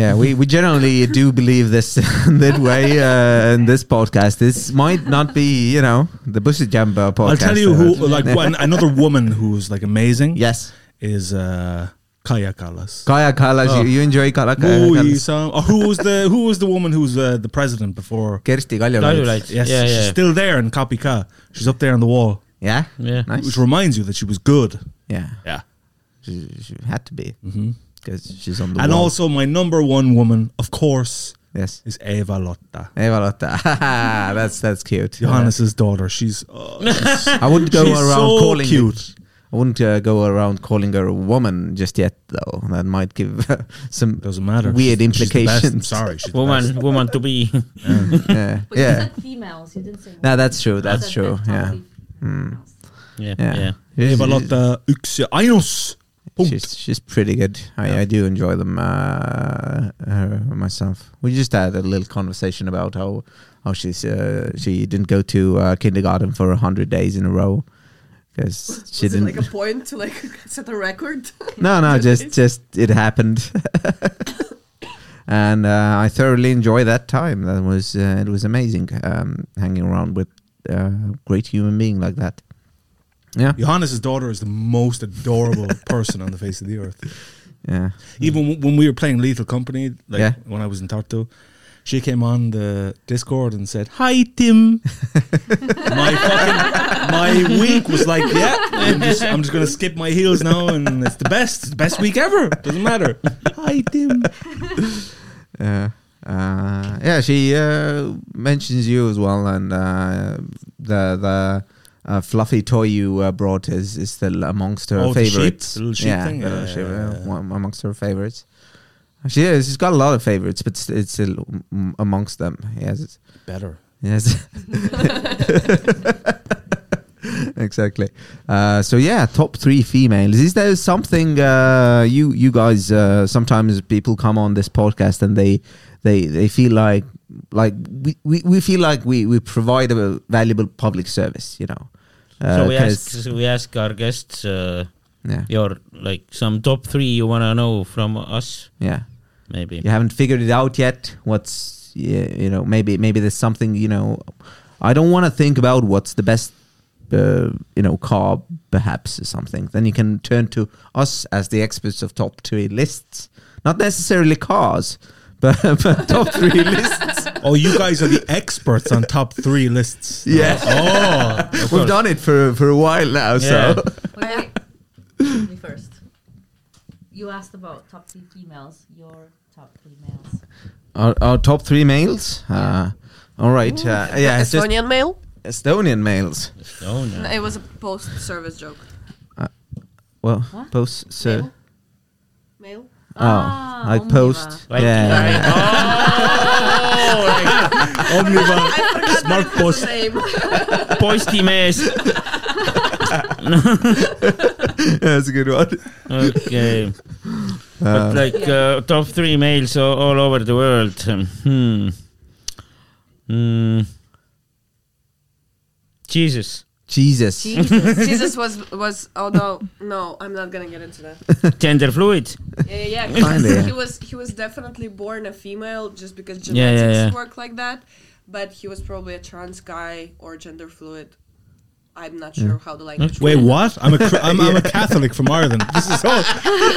B: Yeah, we, we generally do believe this in that way uh, in this podcast. This might not be, you know, the Bushy Jumper podcast.
C: I'll tell you
B: uh,
C: who, like, one, another woman who's like amazing
B: Yes.
C: is uh, Kaya Kallas.
B: Kaya Kallas,
C: Oh.
B: you, you enjoy Kala, Kaya
C: Oi,
B: Kallas?
C: some, oh, who was the who was the woman who was uh, the president before?
B: Kersti
A: Kaljulaid.
B: Kaljulaid.
C: Yes,
A: Yeah,
C: she's
A: yeah.
C: still there in Kapika. She's up there on the wall,
B: Yeah?
A: Yeah.
B: Nice.
C: which reminds you that she was good.
B: Yeah.
C: Yeah.
B: She, she had to be. Because she's on Mm-hmm. the
C: And
B: wall.
C: also, my number one woman, of course,
B: Yes.
C: is Eva Lotta,
B: Eva Lotta. that's, that's cute.
C: Johannes's daughter. She's oh, she's,
B: I wouldn't go
C: she's
B: around
C: so
B: calling
C: cute.
B: I wouldn't uh, go around calling her a woman just yet, though. That might give some
C: Doesn't matter.
B: weird
C: She's- she's the best.
B: implications.
C: I'm sorry, she's the best.
A: woman, woman to be.
B: Yeah.
G: But you
B: uh, yeah.
G: said females. You didn't say.
B: No,
G: women.
B: that's true.
G: You
B: That's
G: said
B: true. Yeah. Hmm.
G: mentality females.
A: Yeah, yeah.
B: Yeah.
C: Eva Lotta Uxiainos.
B: She's she's pretty good. I, I do enjoy them uh, her, myself. We just had a little conversation about how how she's uh, she didn't go to uh, kindergarten for hundred days in a row because she
F: Is it
B: didn't.
F: like a point to like set a record?
B: no, no, just just it happened, and uh, I thoroughly enjoy that time. That was uh, it was amazing um, hanging around with uh, great human being like that. Yeah,
C: Johannes's daughter is the most adorable person on the face of the earth.
B: yeah.
C: Mm-hmm. Even w- when we were playing Lethal Company, like
B: Yeah.
C: when I was in Tartu, she came on the Discord and said, "Hi, Tim." my fucking my week was like, yeah, I'm just, I'm just gonna skip my heels now, and it's the best, it's the best week ever. Doesn't matter. Hi, Tim.
B: Yeah. Uh, yeah, she uh, mentions you as well, and uh, the the uh, fluffy toy you uh, brought is, is still amongst her
C: Oh, the sheep?
B: favorites.
C: The little sheep
B: yeah,
C: thing?
B: the little
C: Yeah,
B: sheep,
C: yeah,
B: uh,
C: yeah.
B: one amongst her favorites. She is. She's got a lot of favorites, but st- it's still m- amongst them. Yes,
C: Better.
B: yes. exactly. Uh, so yeah, top three females. Is there something uh, you you guys uh, sometimes people come on this podcast and they they they feel like like we, we, we feel like we, we provide a valuable public service, you know. Uh,
A: So we
B: 'cause-
A: ask, we ask our guests uh,
B: yeah,
A: your like some top three you wanna know from us,
B: yeah.
A: maybe.
B: You haven't figured it out yet. What's yeah, you know maybe maybe there's something you know. I don't want to think about what's the best uh, you know car perhaps or something. Then you can turn to us as the experts of top three lists, not necessarily cars, but, but top three lists.
C: Oh, you guys are the experts on top three lists.
B: Yeah.
C: Oh,
B: We've done it for for a while now, so
G: Wait, wait. Me first. You asked about top three females. Your top three males.
B: our, our top three males. Uh, all right, uh, yeah, it's just
F: Estonian male?
B: Estonian males.
A: Oh no.
F: It was a post service joke.
B: Well,
G: What?
B: post sir.
G: Male?
F: Male?
B: Oh,
F: Ah,
B: like post.
A: Like-
B: yeah.
A: Oh,
C: Omniva.
F: I forgot
C: Smart
F: that it was the name.
A: Postimees.
B: That's a good one.
A: Okay. but like uh, top three males all, all over the world. Hmm. Hmm. Jesus.
B: Jesus.
F: Jesus. Jesus was was oh no no I'm not gonna get into that.
A: Gender fluid.
F: Yeah yeah yeah.
B: Kinda, yeah.
F: He was he was definitely born a female just because genetics
A: Yeah, yeah, yeah.
F: work like that, but he was probably a trans guy or gender fluid. I'm not sure how the language.
C: Wait,
F: works.
C: what? I'm a cr- I'm, I'm a Catholic from Ireland. This is all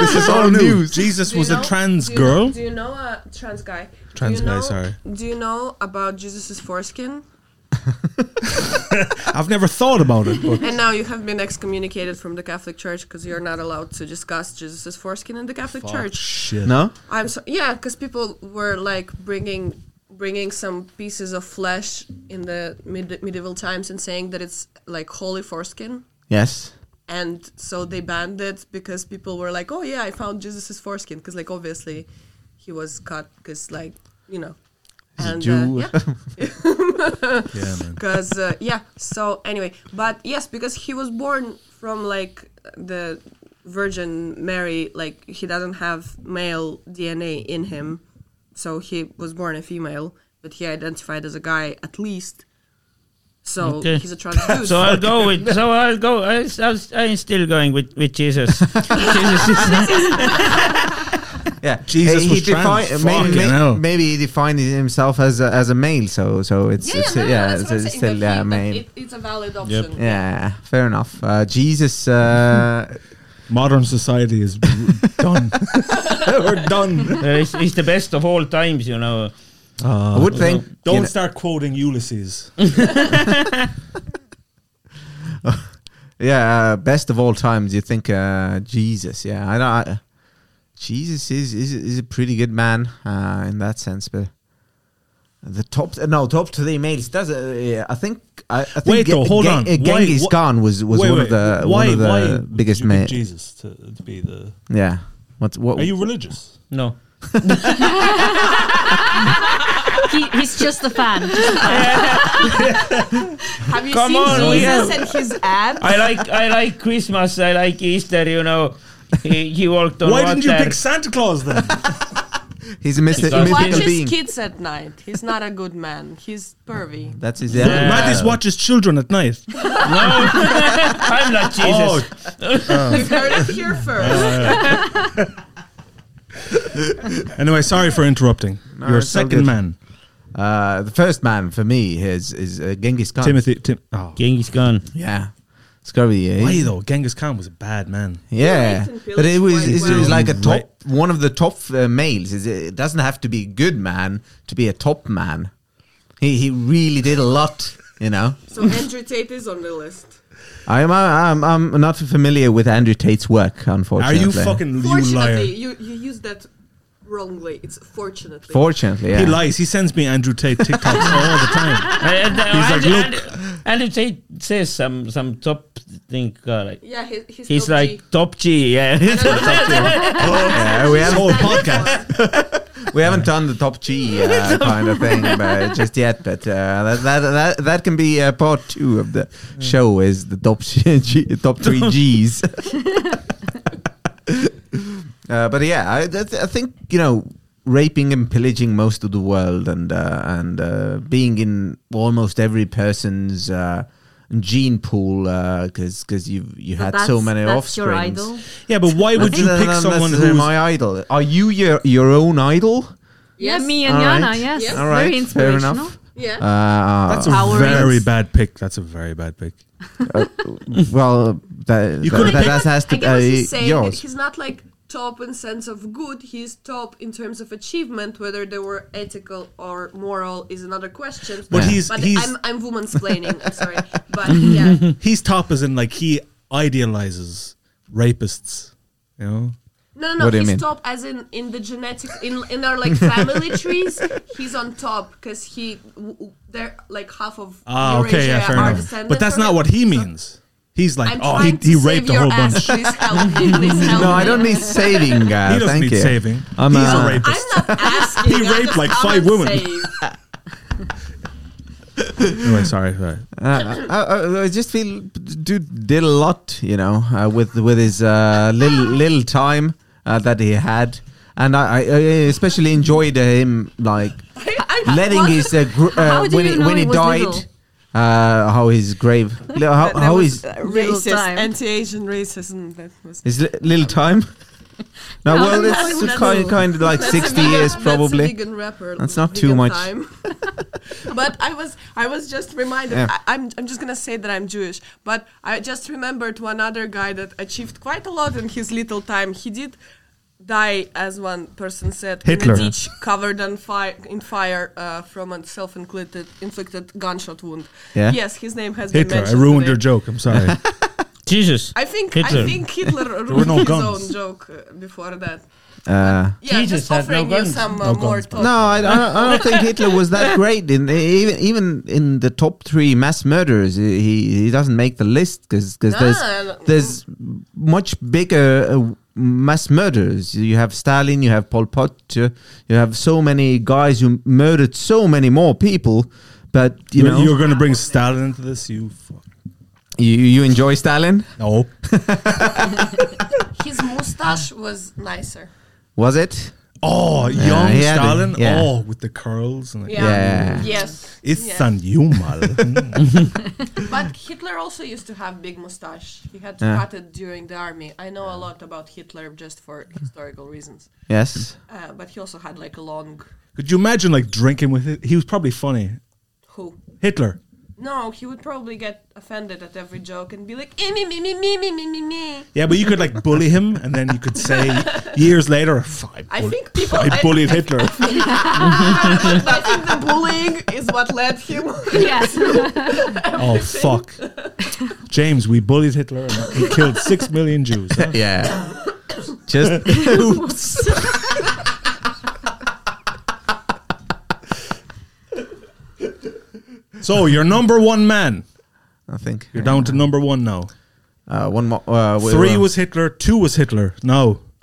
C: this is all new. Jesus
F: Do you
C: was
F: know-
C: a trans
F: do you know-
C: girl.
F: Do you know a trans guy? Do you
C: Trans guy,
F: know-
C: sorry.
F: Do you know about Jesus's foreskin?
C: I've never thought about it. But
F: And now you have been excommunicated from the Catholic Church because you're not allowed to discuss Jesus's foreskin in the Catholic Church.
C: Oh, shit.
B: No?
F: I'm so yeah, because people were like bringing bringing some pieces of flesh in the mid- medieval times and saying that it's like holy foreskin.
B: Yes.
F: And so they banned it because people were like, "Oh yeah, I found Jesus's foreskin," because like obviously he was cut because like you know. And,
B: Jew.
F: Uh, yeah,
C: Yeah, man.
F: because uh, yeah. So anyway, but yes, because he was born from like the Virgin Mary, like he doesn't have male DNA in him, so he was born a female, but he identified as a guy at least. So
A: Okay.
F: he's a trans dude.
A: So I'll go with. So I'll go. I, I, am still going with, with Jesus. Jesus is uh,
B: Yeah.
C: Jesus
B: he
C: was
B: defi-
C: trans.
B: maybe,
C: Fucking hell.
B: maybe he defined himself as a, as a male, so so it's
F: Yeah,
B: it's
F: no, no,
B: yeah,
F: that's
B: it's,
F: what I'm
B: it's
F: saying,
B: still
F: that
B: yeah,
F: he- that
B: male.
F: it- it's a valid option.
B: yeah, fair enough. Uh, Jesus uh,
C: Modern society is Done. We're done.
A: it's, it's the best of all times , you know .
C: Uh,
B: I would think.
C: Don't
B: you know,
C: start quoting Ulysses.
B: yeah, uh, best of all times. You think uh, Jesus? Yeah, I don't. I, Jesus is is is a pretty good man uh, in that sense, but the top no top three mates does uh, yeah, I think I, I think
C: Wait
B: Ge-
C: though, hold
B: Ge-
C: on.
B: uh,
C: Why-
B: Genghis
C: wha-
B: Khan was was
C: Wait,
B: one
C: wait,
B: of the
C: why-
B: one of
C: why
B: the
C: would
B: biggest
C: you pick
B: men.
C: Jesus to, to be the.
B: Yeah. What's what?
C: Are you religious?
A: no .
G: He, he's just a fan. Just a fan.
F: Have you
A: Come
F: seen
A: on, we
F: Jesus and his abs?
A: Oh, I like I like Christmas , I like Easter , you know . He, he walked on
C: Why
A: water
C: didn't you pick Santa Claus then?
B: He's a myth-
A: Because-
B: mythical
F: Watches
B: being.
F: kids at night. He's not a good man. He's pervy.
B: That's his.
A: Yeah.
C: Mattis watches children at night.
A: no , I'm not Jesus .
F: You've heard it here first.
C: Anyway, sorry for interrupting.
B: No,
C: Your
B: it's all
C: second
B: good.
C: man,
B: Uh, the first man for me is is uh, Genghis Khan.
C: Timothy. Tim- oh.
A: Genghis Khan .
B: Yeah. Scurvy. Yeah.
C: Why though? Genghis Khan was a bad man.
B: Yeah,
F: Nathan Fields
B: but it was
F: quite
B: it
F: well.
B: was like a top
C: Right.
B: one of the top uh, males. It's- It doesn't have to be a good man to be a top man. He he really did a lot. You know,
F: So Andrew Tate is on the list.
B: I'm I'm I'm not familiar with Andrew Tate's work,
C: Are
B: unfortunately.
C: you fucking you liar?
F: Fortunately, you, you used that wrongly. It's fortunately.
B: Fortunately, yeah.
C: He lies. He sends me Andrew Tate TikToks all the time.
A: And, uh,
C: He's
A: Andrew,
C: like,
A: Andrew, Andrew Tate says some some top thing uh, like
F: yeah, he, he's,
A: he's
F: top
A: like
F: G.
A: top G, yeah.
B: Yeah, we
C: This
B: haven't
C: whole podcast.
B: we haven't done the top G uh, kind of thing but just yet, but uh, that, that that that can be uh, part two of the
C: Mm.
B: show is the top G, top three Gs. uh, but yeah, I, that, I think you know raping and pillaging most of the world and uh, and uh, being in almost every person's. Uh, gene pool uh, because you you
G: So
B: had
G: that's-
B: so many
G: that's
B: offspring
G: your idol.
C: Yeah, but why would you pick someone
B: that's
C: who's
B: my idol are you your your own idol
G: Yeah, me
B: All
G: and
B: right.
G: Yana, yes.
F: Yes.
B: all right,
G: Very
B: fair
G: inspirational.
B: enough.
F: Yeah.
B: Uh,
C: That's a
G: Our
C: very
G: race.
C: bad pick. That's a very bad pick.
B: well, that,
C: You
B: that, that,
C: could've picked-
B: has to be
F: I get what
C: uh,
F: he's saying.
B: yours.
F: He's not like top in sense of good. He's top in terms of achievement. Whether they were ethical or moral is another question.
C: But he's-
F: but
C: he's-
F: I'm I'm womansplaining. I'm sorry, but yeah.
C: He's top as in like he idealizes rapists. You know,
F: No, no,
B: What do you
F: he's
B: mean?
F: top as in in the genetic in in our like family trees. He's on top because he w- w- they're like half of
C: Ah, okay, yeah,
F: Eurasia
C: fair
F: are
C: enough.
F: descended
C: But that's
F: from
C: not
F: him.
C: what he
F: So
C: means. He's like,
F: I'm
C: oh,
F: trying
C: he,
F: to
C: he
F: save
C: raped a
F: your
C: whole
F: ass.
C: bunch.
F: Please help me. Please help
B: No, I
F: me.
B: don't need saving. Uh,
C: He doesn't
B: thank
C: need
B: you.
C: saving.
B: I'm,
C: He's
B: uh,
C: a rapist.
F: I'm not asking.
C: He
F: I
C: raped,
F: just
C: like,
F: come
C: five
F: and
C: women.
F: save.
C: Anyway, sorry, sorry.
B: Uh, I, I, I just feel dude did a lot, you know, uh, with with his uh, little little time uh, that he had, and I, I, I especially enjoyed uh, him like
F: I- I-
B: letting
F: what?
B: his uh, gr-
G: How
B: uh,
G: do
B: when
G: you
B: he,
G: know
B: when
G: he
B: he
G: was
B: died,
G: little?
B: uh, how his grave, how,
F: That
B: how
F: was,
B: his
F: uh,
G: Little
F: racist,
G: time.
F: anti-Asian racism. That was
B: Is li- little time? No,
G: No,
B: well,
G: no,
B: it's
G: it's
B: kind,
G: little.
B: kind of like
F: That's a
B: 60
F: vegan-
B: years
F: that's a
B: probably.
F: vegan rapper,
B: That's not
F: vegan
B: too much.
F: time. but I was, I was just reminded.
B: Yeah.
F: I, I'm, I'm just gonna say that I'm Jewish, but I just remembered one other guy that achieved quite a lot in his little time. He did die, as one person said,
C: Hitler.
F: in a ditch covered on fire in fire uh, from a self-inflicted inflicted gunshot wound.
B: Yeah.
F: Yes, his name has been
C: Hitler, I
F: mentioned.
C: ruined
F: today.
C: your joke. I'm sorry.
A: Jesus.
F: I think I
A: Hitler.
F: think Hitler
C: were
F: ruined
C: no
F: his
C: guns.
F: own joke uh, before that.
B: Uh,
F: Yeah,
A: Jesus
F: just
A: had no
F: offering you
A: guns.
F: some uh,
C: No
F: more
C: guns,
F: talk.
B: no, I, I, don't- I don't think Hitler was that great. In even even in the top three mass murderers, he he he doesn't make the list because
F: No, I don't-
B: there's there's much bigger uh, mass murders. You have Stalin, you have Pol Pot, you, you have so many guys who murdered so many more people. But you
C: you
B: know,
C: are going to bring Stalin into this. You fuck.
B: you you enjoy Stalin?
C: No.
F: His mustache
B: Ah.
F: was nicer.
B: Was it?
C: Oh, young
B: he had it,
C: Stalin.
B: yeah.
C: Oh, with the curls and like,
F: Yeah.
B: Yeah.
F: Yes.
C: it's
F: Yeah.
C: an Yumal.
F: But Hitler also used to have big mustache. He had to
B: Yeah.
F: cut it during the army. I know a lot about Hitler just for historical reasons.
B: Yes.
F: Uh, but he also had like a long
C: Could you imagine like drinking with it? He was probably funny.
F: who?
C: Hitler.
F: No, he would probably get offended at every joke and be like, "Eh, me, me, me, me, me, me, me, me.
C: Yeah, but you could like bully him, and then you could say years later, "F- I,
F: I
C: bull-
F: think people.
C: I bullied Hitler.
F: I think the bullying is what led him.
G: Yes.
C: oh fuck, James, we bullied Hitler, and he killed six million Jews. huh?
B: Yeah. Just oops.
C: So you're number one man.
B: I think
C: You're down to number one now.
B: uh, one more. Uh, we
C: Three
B: were-
C: was Hitler. Two was Hitler. No,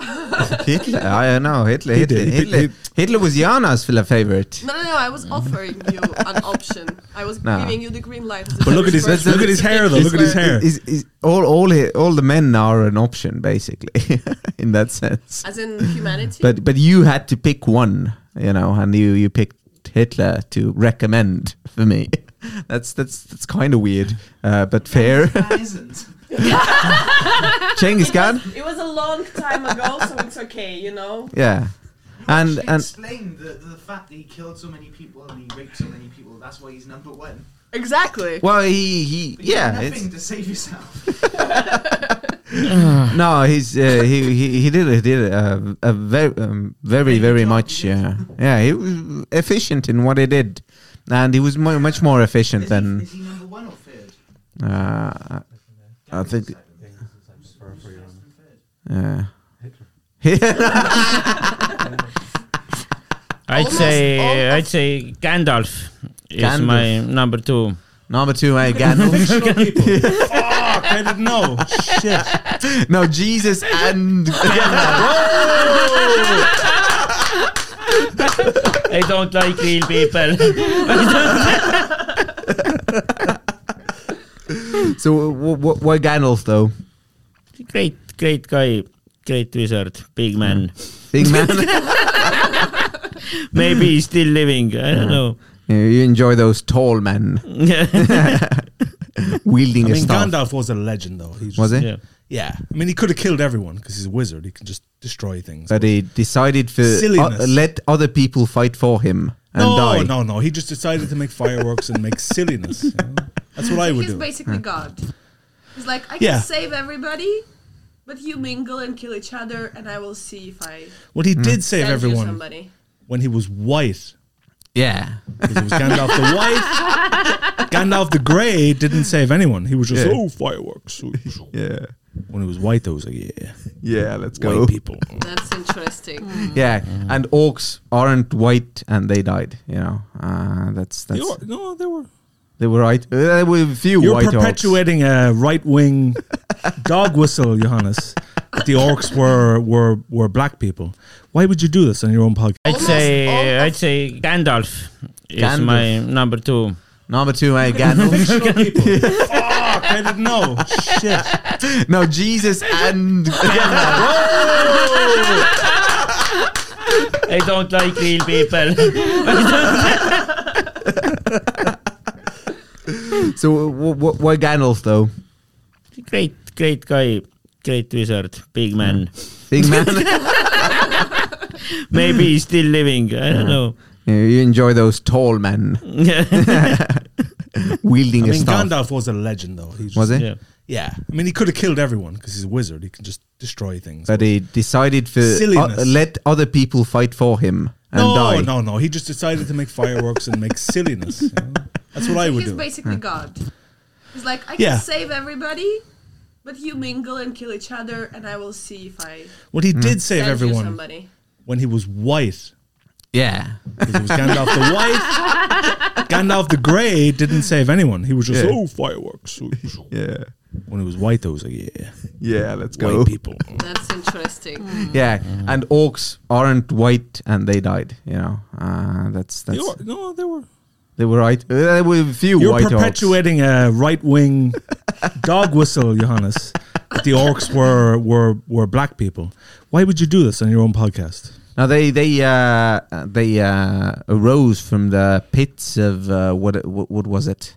B: Hitler. I know Hitler.
C: He
B: Hitler.
C: did, he-
B: Hitler,
C: he-
B: Hitler was Jana's fil- favorite.
F: No, no, no. I was offering you an option. I was
B: No.
F: giving you the green light.
C: but look at his
B: That's-
C: look at his hair though. Look at his hair.
B: Is, is all all he, all the men are an option basically in that sense.
F: As in humanity.
B: But but you had to pick one, you know, and you you picked Hitler to recommend for me. That's that's that's kind of weird, uh, but fair.
H: isn't.
B: Genghis Khan,
F: it was a long time ago, so it's okay, you know.
B: yeah, and
H: She
B: and
H: explained the, the fact that he killed so many people and he raped so many people. That's why he's number one.
F: Exactly.
B: well, he he
H: But you
B: yeah,
H: did
B: it's,
H: nothing to save yourself.
B: no, he's uh, he he he did he did uh, a very um, very very much yeah yeah he was efficient in what he did, and he was mo- much more efficient
H: Is, he,
B: than
H: is he number one or third?
B: uh, I think uh,
A: I'd
F: Almost
A: say
F: all
A: I'd say Gandalf is
B: Gandalf.
A: my number two.
B: number two I Gandalf.
C: Fuck, I didn't know. Shit.
B: No, Jesus and
A: I don't like real people.
B: so wh- wh- why Gandalf though?
A: great, great guy, great wizard, big man.
F: Mm.
B: Big man,
A: Maybe he's still living. I don't know.
B: you you enjoy those tall men
F: Mm.
B: wielding
C: I
B: a
C: mean,
B: staff.
C: Gandalf was a legend though. He just-
B: Was it?
A: yeah.
C: Yeah. I mean, he could have killed everyone because he's a wizard. He can just destroy things.
B: But he decided to
C: Silliness.
B: uh, let other people fight for him and
C: no,
B: die.
C: no, no. He just decided to make fireworks and make silliness. you know? That's what I would
F: He's
C: do.
F: basically God. He's like, I
C: Yeah.
F: can save everybody, but you mingle and kill each other, and I will see if I
C: What
B: Mm.
C: he did save
F: send you
C: everyone
F: somebody.
C: when he was white,
B: Yeah,
C: 'cause it was Gandalf the white. Gandalf the grey didn't save anyone. He was just
B: Yeah.
C: oh fireworks.
B: yeah,
C: When he was white, though, was like yeah,
B: yeah. Let's
C: white
B: go.
C: people.
F: That's interesting.
B: Yeah, and orcs aren't white, and they died. You know, uh, that's
C: They
B: that's
C: were- no, they were.
B: they were right. Uh, there were a few
C: You're
B: white orcs.
C: perpetuating a right wing dog whistle, Johannes. That the orcs were were were black people. Why would you do this on your own podcast?
A: I'd
F: Almost all
A: say
F: of-
A: I'd say Gandalf is
B: Gandalf.
A: my number two.
B: Number two, I Gandalf.
C: Fuck, I didn't know. Shit.
B: no, Jesus and
A: I don't like real people.
B: so wh- wh- why Gandalf though?
A: great, great guy, great wizard, big man.
B: Big man,
A: Maybe he's still living. I don't
B: Mm.
A: know.
B: you you enjoy those tall men wielding
C: I
B: a
C: mean,
B: staff.
C: Gandalf was a legend, though. He just,
B: Was it?
A: yeah.
C: Yeah. I mean, he could have killed everyone because he's a wizard. He can just destroy things.
B: But he decided to
C: Silliness.
B: uh, let other people fight for him and
C: no,
B: die.
C: no, no. He just decided to make fireworks and make silliness. you know? That's what I would
F: He's
C: do.
F: basically God. He's like, I can
C: Yeah.
F: save everybody, but you mingle and kill each other, and I will see if I
C: What he
B: Mm.
C: did save
F: send you
C: everyone
F: somebody.
C: when he was white.
B: Yeah,
C: 'cause It was Gandalf the white. Gandalf the grey didn't save anyone. He was just
B: Yeah.
C: oh fireworks.
B: yeah,
C: When he was white, though, it was like yeah,
B: yeah. Let's go.
C: white people.
F: That's interesting.
C: Mm.
B: Yeah, and orcs aren't white, and they died. You know, uh, that's
C: They
B: that's
C: were- no, they were.
B: they were right. Uh, there were a few
C: You're
B: white orcs.
C: perpetuating a right wing dog whistle, Johannes. That the orcs were were were black people. Why would you do this on your own podcast?
B: Now they they uh, they uh, arose from the pits of uh, what, what what was it?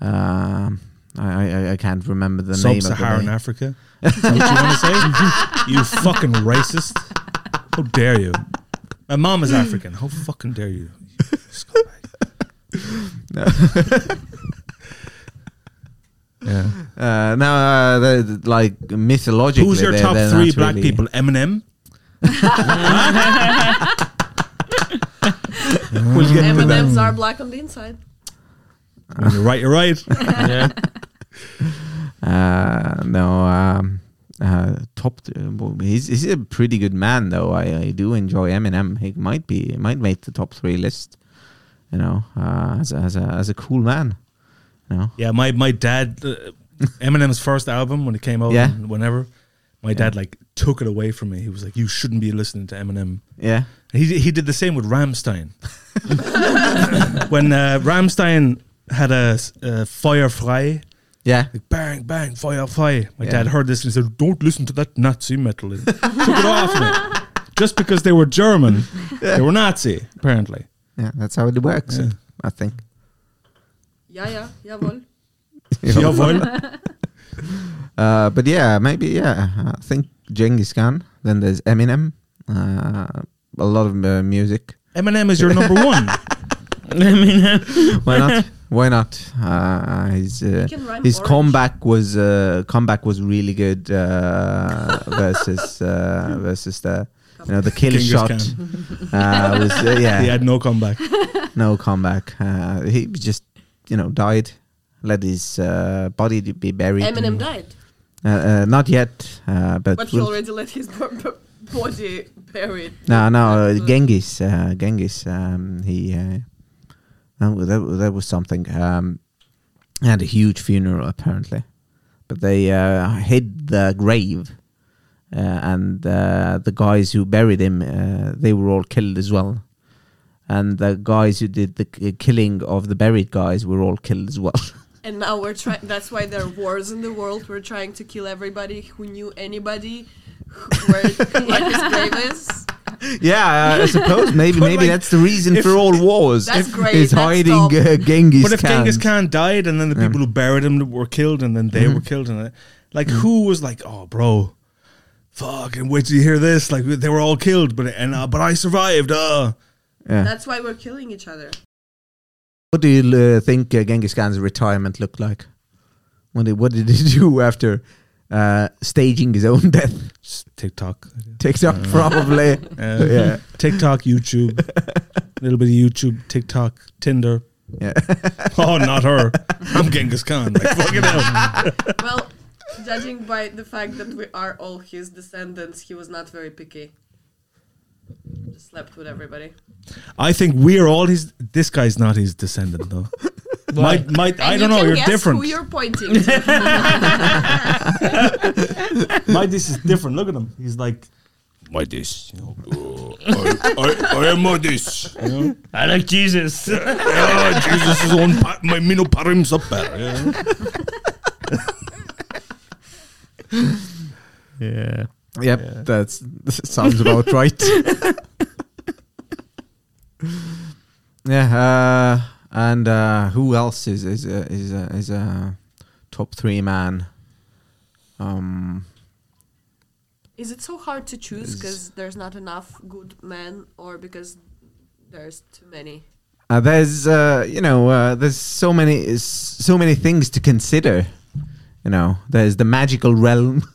B: Um, I, I I can't remember the name. of the
C: Sub-Saharan
B: name.
C: Africa. Is that what you want to say? you fucking racist! How dare you? My mom is African. How fucking dare you? Scumbag.
B: Uh, no, uh, they- they- like mythologically.
C: Who's your
B: they-
C: top
B: they're
C: three
B: not
C: black
B: really-
C: people? Eminem.
B: We'll get to that.
F: M&Ms are black on the inside.
C: When you're right. You're right.
A: yeah.
B: Uh, no, um, uh, top. th- well, he's he's a pretty good man though. I, I do enjoy Eminem. He might be he might make the top three list. You know, uh, as a, as a as a cool man. You know,
C: Yeah, my my dad, uh, Eminem's first album when it came out,
B: Yeah.
C: and whenever, my dad like took it away from me. He was like, "You shouldn't be listening to Eminem."
B: yeah.
C: And he he did the same with Ramstein. when uh, Ramstein had a, s- a Fire Fry,
B: Yeah,
C: like bang bang Fire Fry, my
B: Yeah.
C: dad heard this and he said, "Don't listen to that Nazi metal." And took it off me. Just because they were German, they were Nazi apparently.
B: yeah, that's how it works.
C: Yeah.
B: I think.
F: Yeah, yeah, jawohl.
C: Jawohl.
B: Uh, but yeah, maybe yeah. I think Genghis Khan. Then there's Eminem. Uh, a lot of uh, music.
C: Eminem is your number one.
A: uh,
B: Why not? Why not? Uh, his uh,
F: can rhyme
B: his
F: orange.
B: comeback was uh, comeback was really good uh, versus uh, versus the you know the killer
C: Genghis
B: shot.
C: Khan.
B: Uh, was, uh, yeah,
C: He had no comeback.
B: no comeback. Uh, he just you know died. Let his uh, body to be buried.
F: Eminem died,
B: Uh, uh, not yet, uh, but,
F: but he
B: we'll-
F: already let his bo- bo- body buried.
B: No, no, uh,
F: Mm.
B: Genghis, uh, Genghis. Um, he uh, that, wa- that, wa- that was something. Um, he had a huge funeral apparently, but they uh, hid the grave, uh, and uh, the guys who buried him, uh, they were all killed as well, and the guys who did the k- killing of the buried guys were all killed as well.
F: And now we're trying. That's why there are wars in the world. We're trying to kill everybody who knew anybody who, where where his grave is.
B: yeah, I, I suppose maybe
C: But
B: maybe
C: like,
B: that's the reason
C: if-
B: for all wars.
F: That's
B: If-
F: great,
B: Is
F: that's
B: hiding
F: dumb.
B: uh, Genghis
C: But if
B: Khan.
C: Genghis Khan died and then the people who buried him were killed and then
B: Mm-hmm.
C: they were killed and uh, like who was like, oh bro, fuck, and wait till you hear this. Like they were all killed, but and uh, but I survived. Uh.
B: Yeah.
F: That's why we're killing each other.
B: What do you uh, think uh, Genghis Khan's retirement looked like? What did, what did he do after uh, staging his own death?
C: S- TikTok,
B: TikTok, probably.
C: uh,
B: yeah,
C: TikTok, YouTube, a little bit of YouTube, TikTok, Tinder.
B: yeah.
C: Oh, not her. I'm Genghis Khan. Like, fucking hell.
F: Well, judging by the fact that we are all his descendants, he was not very picky. Just slept with everybody.
C: I think we're all his. This guy's not his descendant though. My, my, I don't
F: And you
C: know.
F: can
C: You're
F: guess
C: different.
F: Who you're pointing? to.
C: My dish is different. Look at him. He's like my dish. You know, "Oh, I, I, I am my dish. You know?
A: I like Jesus.
C: Ah, Jesus is on pa- my mino parim's up there. you know?
B: yeah. Yep, that's that sounds about right. yeah, uh, and uh, who else is is a, is a, is a top three man? Um,
F: Is it so hard to choose because there's not enough good men, or because there's too many?
B: Uh, there's, uh, you know, uh, there's so many, s- so many things to consider. You know, there's the magical realm.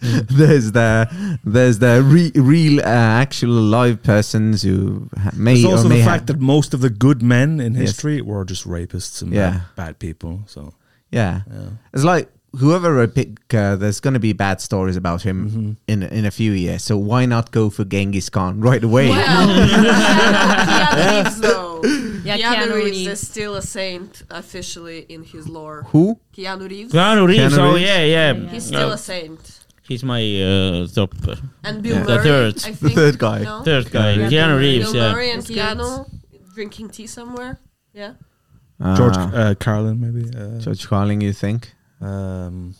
C: Mm.
B: there's the there's the re- real uh, actual live persons who ha- may
C: It's
B: or
C: also
B: may
C: the
B: have-
C: fact that most of the good men in
B: Yes.
C: history were just rapists and
B: Yeah.
C: bad, bad people. So
B: yeah.
C: yeah.
B: it's like whoever I pick, uh, there's going to be bad stories about him
C: Mm-hmm.
B: in in a few years. So why not go for Genghis Khan right away?
F: Well, Keanu Reeves, though.
G: Yeah,
F: Keanu,
G: Keanu
F: Reeves
G: Reeves.
F: is still a saint officially in his lore.
B: Who?
F: Keanu Reeves,
A: Keanu Reeves,
B: Keanu
A: oh
B: Reeves?
A: yeah, yeah.
F: he's
A: Uh,
F: still a saint.
A: he's my uh, top uh,
F: And Bill
B: Yeah.
A: The
F: Murray,
A: third-
F: I
B: the
F: think,
B: third guy.
F: No?
A: third guy.
G: Yeah,
A: Keanu
G: Bill
A: Reeves,
F: Bill
A: yeah.
F: Murray and
G: That's good.
F: Keanu drinking tea somewhere. Yeah.
B: Uh,
C: George uh, Carlin, maybe. Uh,
B: Ah, George Carlin, you think?
C: Um,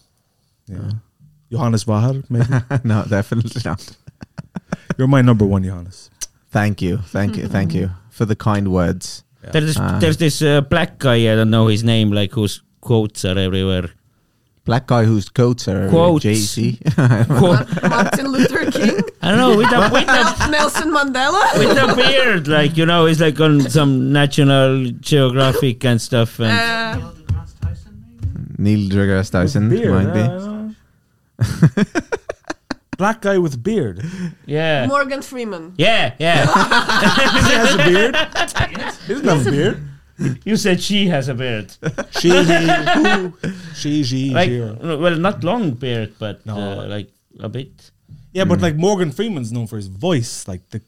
C: yeah. Johannes Bahar, maybe.
B: no, definitely not.
C: You're my number one, Johannes.
B: Thank you, thank you, thank you for the kind words.
A: There's this,
B: Ah.
A: there's this uh, black guy. I don't know his name. Like whose quotes are everywhere.
B: Black guy whose coats are uh,
A: Quotes.
B: Jay Z.
A: Quote,
F: Martin Luther King,
A: I don't know with a with a
F: Nel- Nelson Mandela. Uh,
A: with a beard. Like you know, he's like on some National Geographic and stuff. And
F: Uh,
H: Neil deGrasse Tyson, maybe?
B: Neil deGrasse Tyson
C: Beard,
B: might
C: yeah, I
B: be.
C: know. Black guy with beard.
A: yeah ,
F: Morgan Freeman.
A: yeah , yeah .
C: She has a beard. He doesn't have a beard.
A: You said she has a beard .
C: She, he, who, she, she,
A: Like,
C: here.
A: no, well, not long beard , but
C: No.
A: uh, like a bit .
C: Yeah, but like Morgan Freeman's known for his voice, like the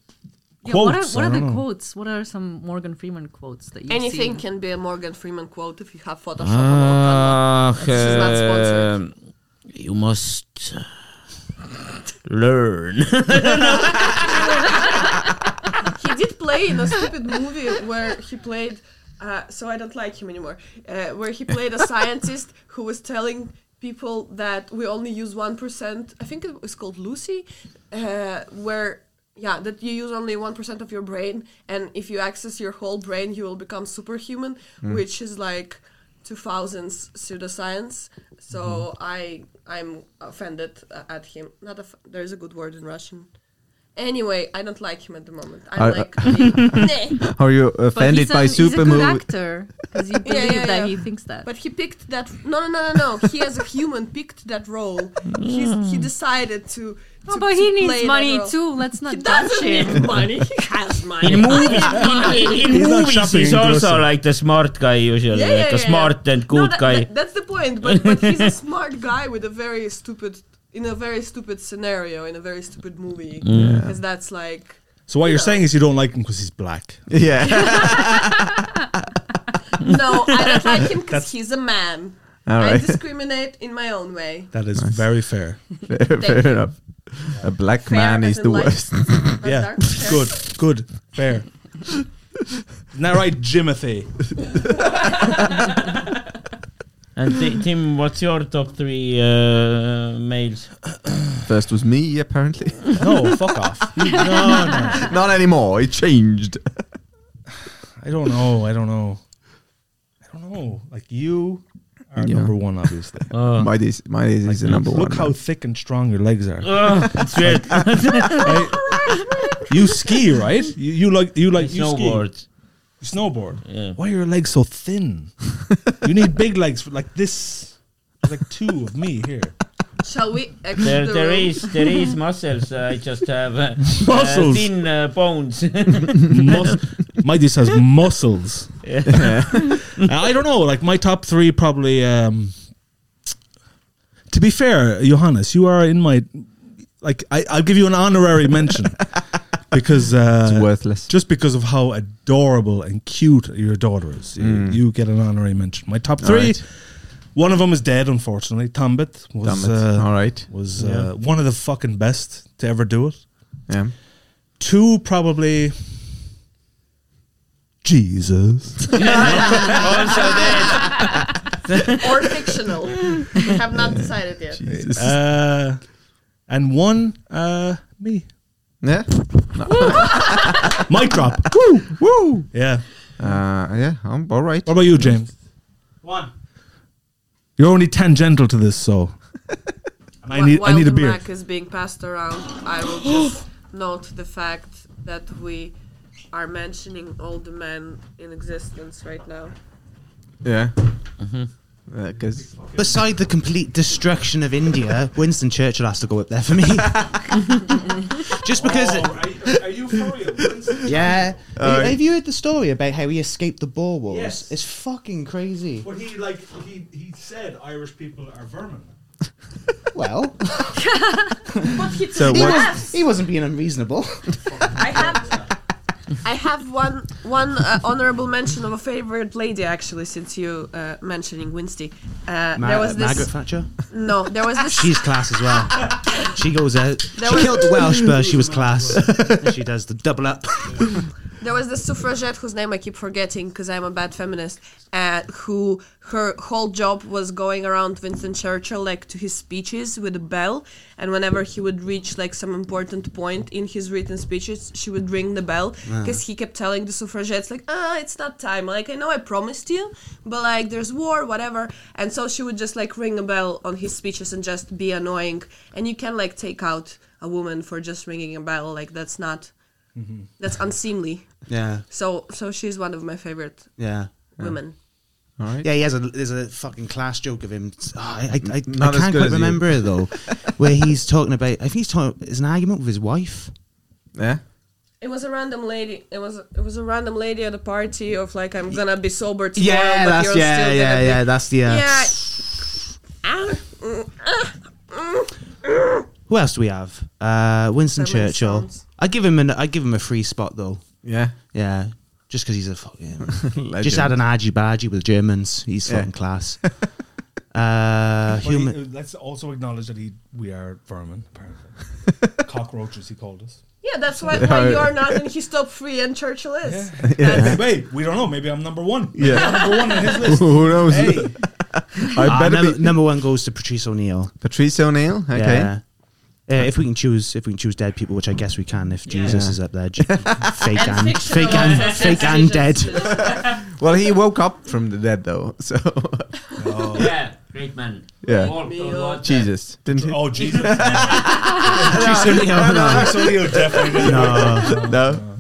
G: Yeah, what are,
C: quotes.
G: what
C: I
G: are the
C: don't know.
G: quotes? What are some Morgan Freeman quotes that you
F: Anything can be a Morgan Freeman quote if you have Photoshop.
C: Uh,
F: on
A: Ah,
F: This is not sponsored.
A: um, you must uh, learn.
F: Wakanda. He did play in a stupid movie where he played. Uh, so I don't like him anymore. Uh, where he played a scientist who was telling people that we only use one percent. I think it was called Lucy, uh, where. Yeah, that you use only 1% of your brain, and if you access your whole brain, you will become superhuman, which is like 2000s pseudoscience. So I I'm offended uh, at him. Not off- there is a good word in Russian. Anyway, I don't like him at the moment. I'm
B: Are-
F: like, "Nah."
B: Are you offended by super
G: he's a good
B: movie?
G: actor because you believe
F: yeah,
G: that
F: yeah.
G: he thinks that.
F: but he picked that. No, no, no, no, no. He as a human picked that role. He's, he decided to.
G: Mm. No,
F: to-
G: but
F: to
G: he
F: play
G: needs
F: that
G: money
F: role.
G: too. Let's
F: He
G: not judge
F: doesn't
G: him.
F: need money. He has money.
A: in movies, in, in
C: He's not
A: movies
C: shopping
A: he's
C: in
A: also
C: Brussels.
A: like the smart guy usually,
F: Yeah,
A: like
F: yeah,
A: a
F: yeah,
A: smart and
F: No,
A: good
F: that-
A: guy.
F: that- that's the point. But, but he's a smart guy with a very stupid, in a very stupid scenario, in a very stupid movie. Because that's like.
C: So what you're
F: Yeah.
C: saying is you don't like him because he's black.
B: Yeah.
F: No, I don't like him because he's a man.
B: All
F: I
B: right.
F: discriminate in my own way.
C: That is very fair.
B: Fair,
F: Thank you.
B: enough. A black
F: Fair
B: man
F: as
B: is
F: in
B: the
F: like-
B: worst.
F: Not
C: yeah,
F: dark, fair.
C: good, good, fair. Isn't that right, Jimothy?
A: And Ti- Tim, what's your top three uh, males?
B: First was me, apparently.
C: No, fuck off. You- No, no.
B: Not anymore. It changed.
C: I don't know. I don't know. I don't know. Like you are
B: Yeah.
C: number one, obviously.
A: Oh.
B: My is my is is the number
C: Look
B: one.
C: how
B: man.
C: thick and strong your legs are.
A: Ugh, it's weird.
C: Right? you ski, right? You, you like you like you ski.
A: snowboard.
C: You snowboard.
A: Yeah.
C: Why are your legs so thin? you need big legs for like this. There's like two of me here.
F: Shall we exit
A: There,
F: the
A: there
F: room?
A: is, there is muscles. I just have uh,
C: Muscles.
A: uh, thin uh, bones.
C: Mus- Mighty has muscles.
A: Yeah.
C: I don't know. Like my top three probably. Um, to be fair, Johannes, you are in my like. I, I'll give you an honorary mention because uh,
B: it's worthless.
C: just because of how adorable and cute your daughter is, you- you, get an honorary mention. My top three.
B: Alright.
C: One of them is dead, unfortunately. Tambit was
B: Damn it.
C: Uh,
B: All right.
C: was
A: Yeah.
C: uh, one of the fucking best to ever do it.
B: Yeah.
C: Two probably. Jesus.
A: also there,
F: or fictional. We have not decided yet.
B: Jesus.
C: uh, and one uh, me.
B: yeah.
C: Mic drop.
B: Woo.
C: Yeah.
B: Uh, yeah. I'm all right.
I: Oh.
C: What about you, James?
A: one.
C: You're only tangential to this, so. And I
F: Wh-
C: need
F: While
C: I need a
F: the
C: beer.
F: Mac is being passed around, I will just note the fact that we are mentioning all the men in existence right now.
B: Yeah.
G: Mm-hmm.
B: Uh, Because
I: Beside the complete destruction of India, Winston Churchill has to go up there for me. Just because.
H: Oh,
C: are, you for real?
I: yeah.
B: Alright.
I: Have you heard the story about how he escaped the Boer Wars?
C: Yes.
I: It's fucking crazy.
C: But he like he, he said Irish people are vermin.
I: Well,
B: so
I: he,
B: what?
I: was, he wasn't being unreasonable.
F: I have, I have one one uh, honorable mention of a favorite lady actually, since you uh, mentioning Winsty. Uh, there was this.
I: Margaret Thatcher?
F: No, there was this.
I: She's class as well. She goes out.
F: That
I: she
F: was-
I: killed the Welsh, but she was class. she does the double up.
F: There was this suffragette whose name I keep forgetting because I'm a bad feminist, uh, who her whole job was going around Winston Churchill like to his speeches with a bell, and whenever he would reach like some important point in his written speeches, she would ring the bell because he kept telling the suffragettes like, "Ah, it's not time. Like I know I promised you, but like there's war, whatever." And so she would just like ring a bell on his speeches and just be annoying. And you can like take out a woman for just ringing a bell. Like that's not. That's unseemly.
I: Yeah,
F: So so she's one of my favorite
I: yeah.
F: women.
B: All right.
I: Yeah, he has a there's a fucking class joke of him. Oh, I, I, I, I
B: Not as
I: can't
B: good
I: quite
B: as you.
I: remember it though, where he's talking about. I think he's talking. It's an argument with his wife.
B: Yeah.
F: It was a random lady. It was it was a random lady at a party of like I'm gonna be sober tomorrow.
I: Yeah,
F: but
I: that's
F: you're
I: yeah,
F: still
I: yeah,
F: gonna
I: yeah. That's the.
F: Yeah.
I: Uh,
F: Be, yeah.
I: Who else do we have? Uh, Winston
F: So many
I: Churchill.
F: songs.
I: I give him an. I give him a free spot though.
B: Yeah.
I: Yeah, just because he's a fucking.
B: Legend.
I: just had an argy bargy with Germans. He's
B: Yeah.
I: fucking class. uh,
C: But he-
I: human.
C: uh, let's also acknowledge that he, we are vermin, apparently. Cockroaches, he called us.
F: yeah, that's why, why you're not in his top three and Churchill is.
C: Hey, wait, we don't know. Maybe I'm number one.
B: Yeah.
C: I'm number one on his list.
B: Who knows?
C: Hey,
I: Ah,
B: I better
I: number,
B: be
I: number one goes to Patrice O'Neill.
B: Patrice O'Neill. Okay.
I: Yeah. Uh, if we can choose, if we can choose dead people, which I guess we can, if Jesus is up there, j- fake
G: And
I: and fake and
G: fictionalized
I: fake and dead.
B: Well, he woke up from the dead though, so
A: yeah, great man.
B: Yeah.
A: Walked on water.
B: Jesus didn't he?
C: oh Jesus!
I: Patrice O'Neill, no.
C: Patrice O'Neill definitely. did.
I: No.
B: No.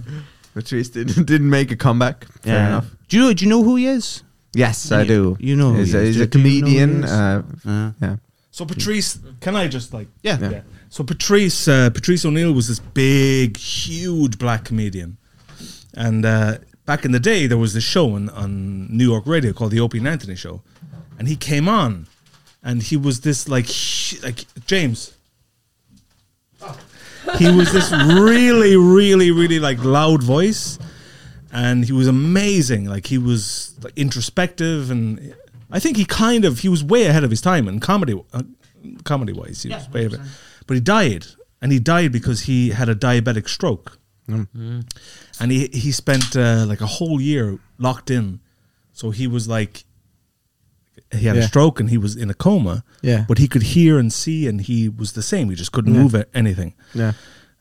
B: Patrice didn't didn't make a comeback. Fair
I: Yeah.
B: enough.
I: Do you do you know who he is?
B: Yes, I do.
I: You know who
B: he's,
I: he
B: a,
I: is.
B: he's
I: Do-
B: a
I: do you know who he
B: comedian.
I: is?
B: Uh,
I: Uh,
B: yeah.
C: So Patrice, can I just like?
I: Yeah.
B: Yeah.
C: So Patrice, uh, Patrice O'Neill was this big, huge black comedian, and uh, back in the day there was this show on, on New York radio called the Opie and Anthony Show, and he came on, and he was this like hu- like James. He was this really, really, really like loud voice, and he was amazing. Like he was like introspective, and I think he kind of he was way ahead of his time in comedy, uh, comedy wise. He was way ahead. But he died, and he died because he had a diabetic stroke,
B: Mm.
C: and he he spent uh, like a whole year locked in. So he was like, he had a
B: Yeah.
C: stroke and he was in a coma.
B: Yeah.
C: but he could hear and see, and he was the same. He just couldn't move a- anything.
B: Yeah.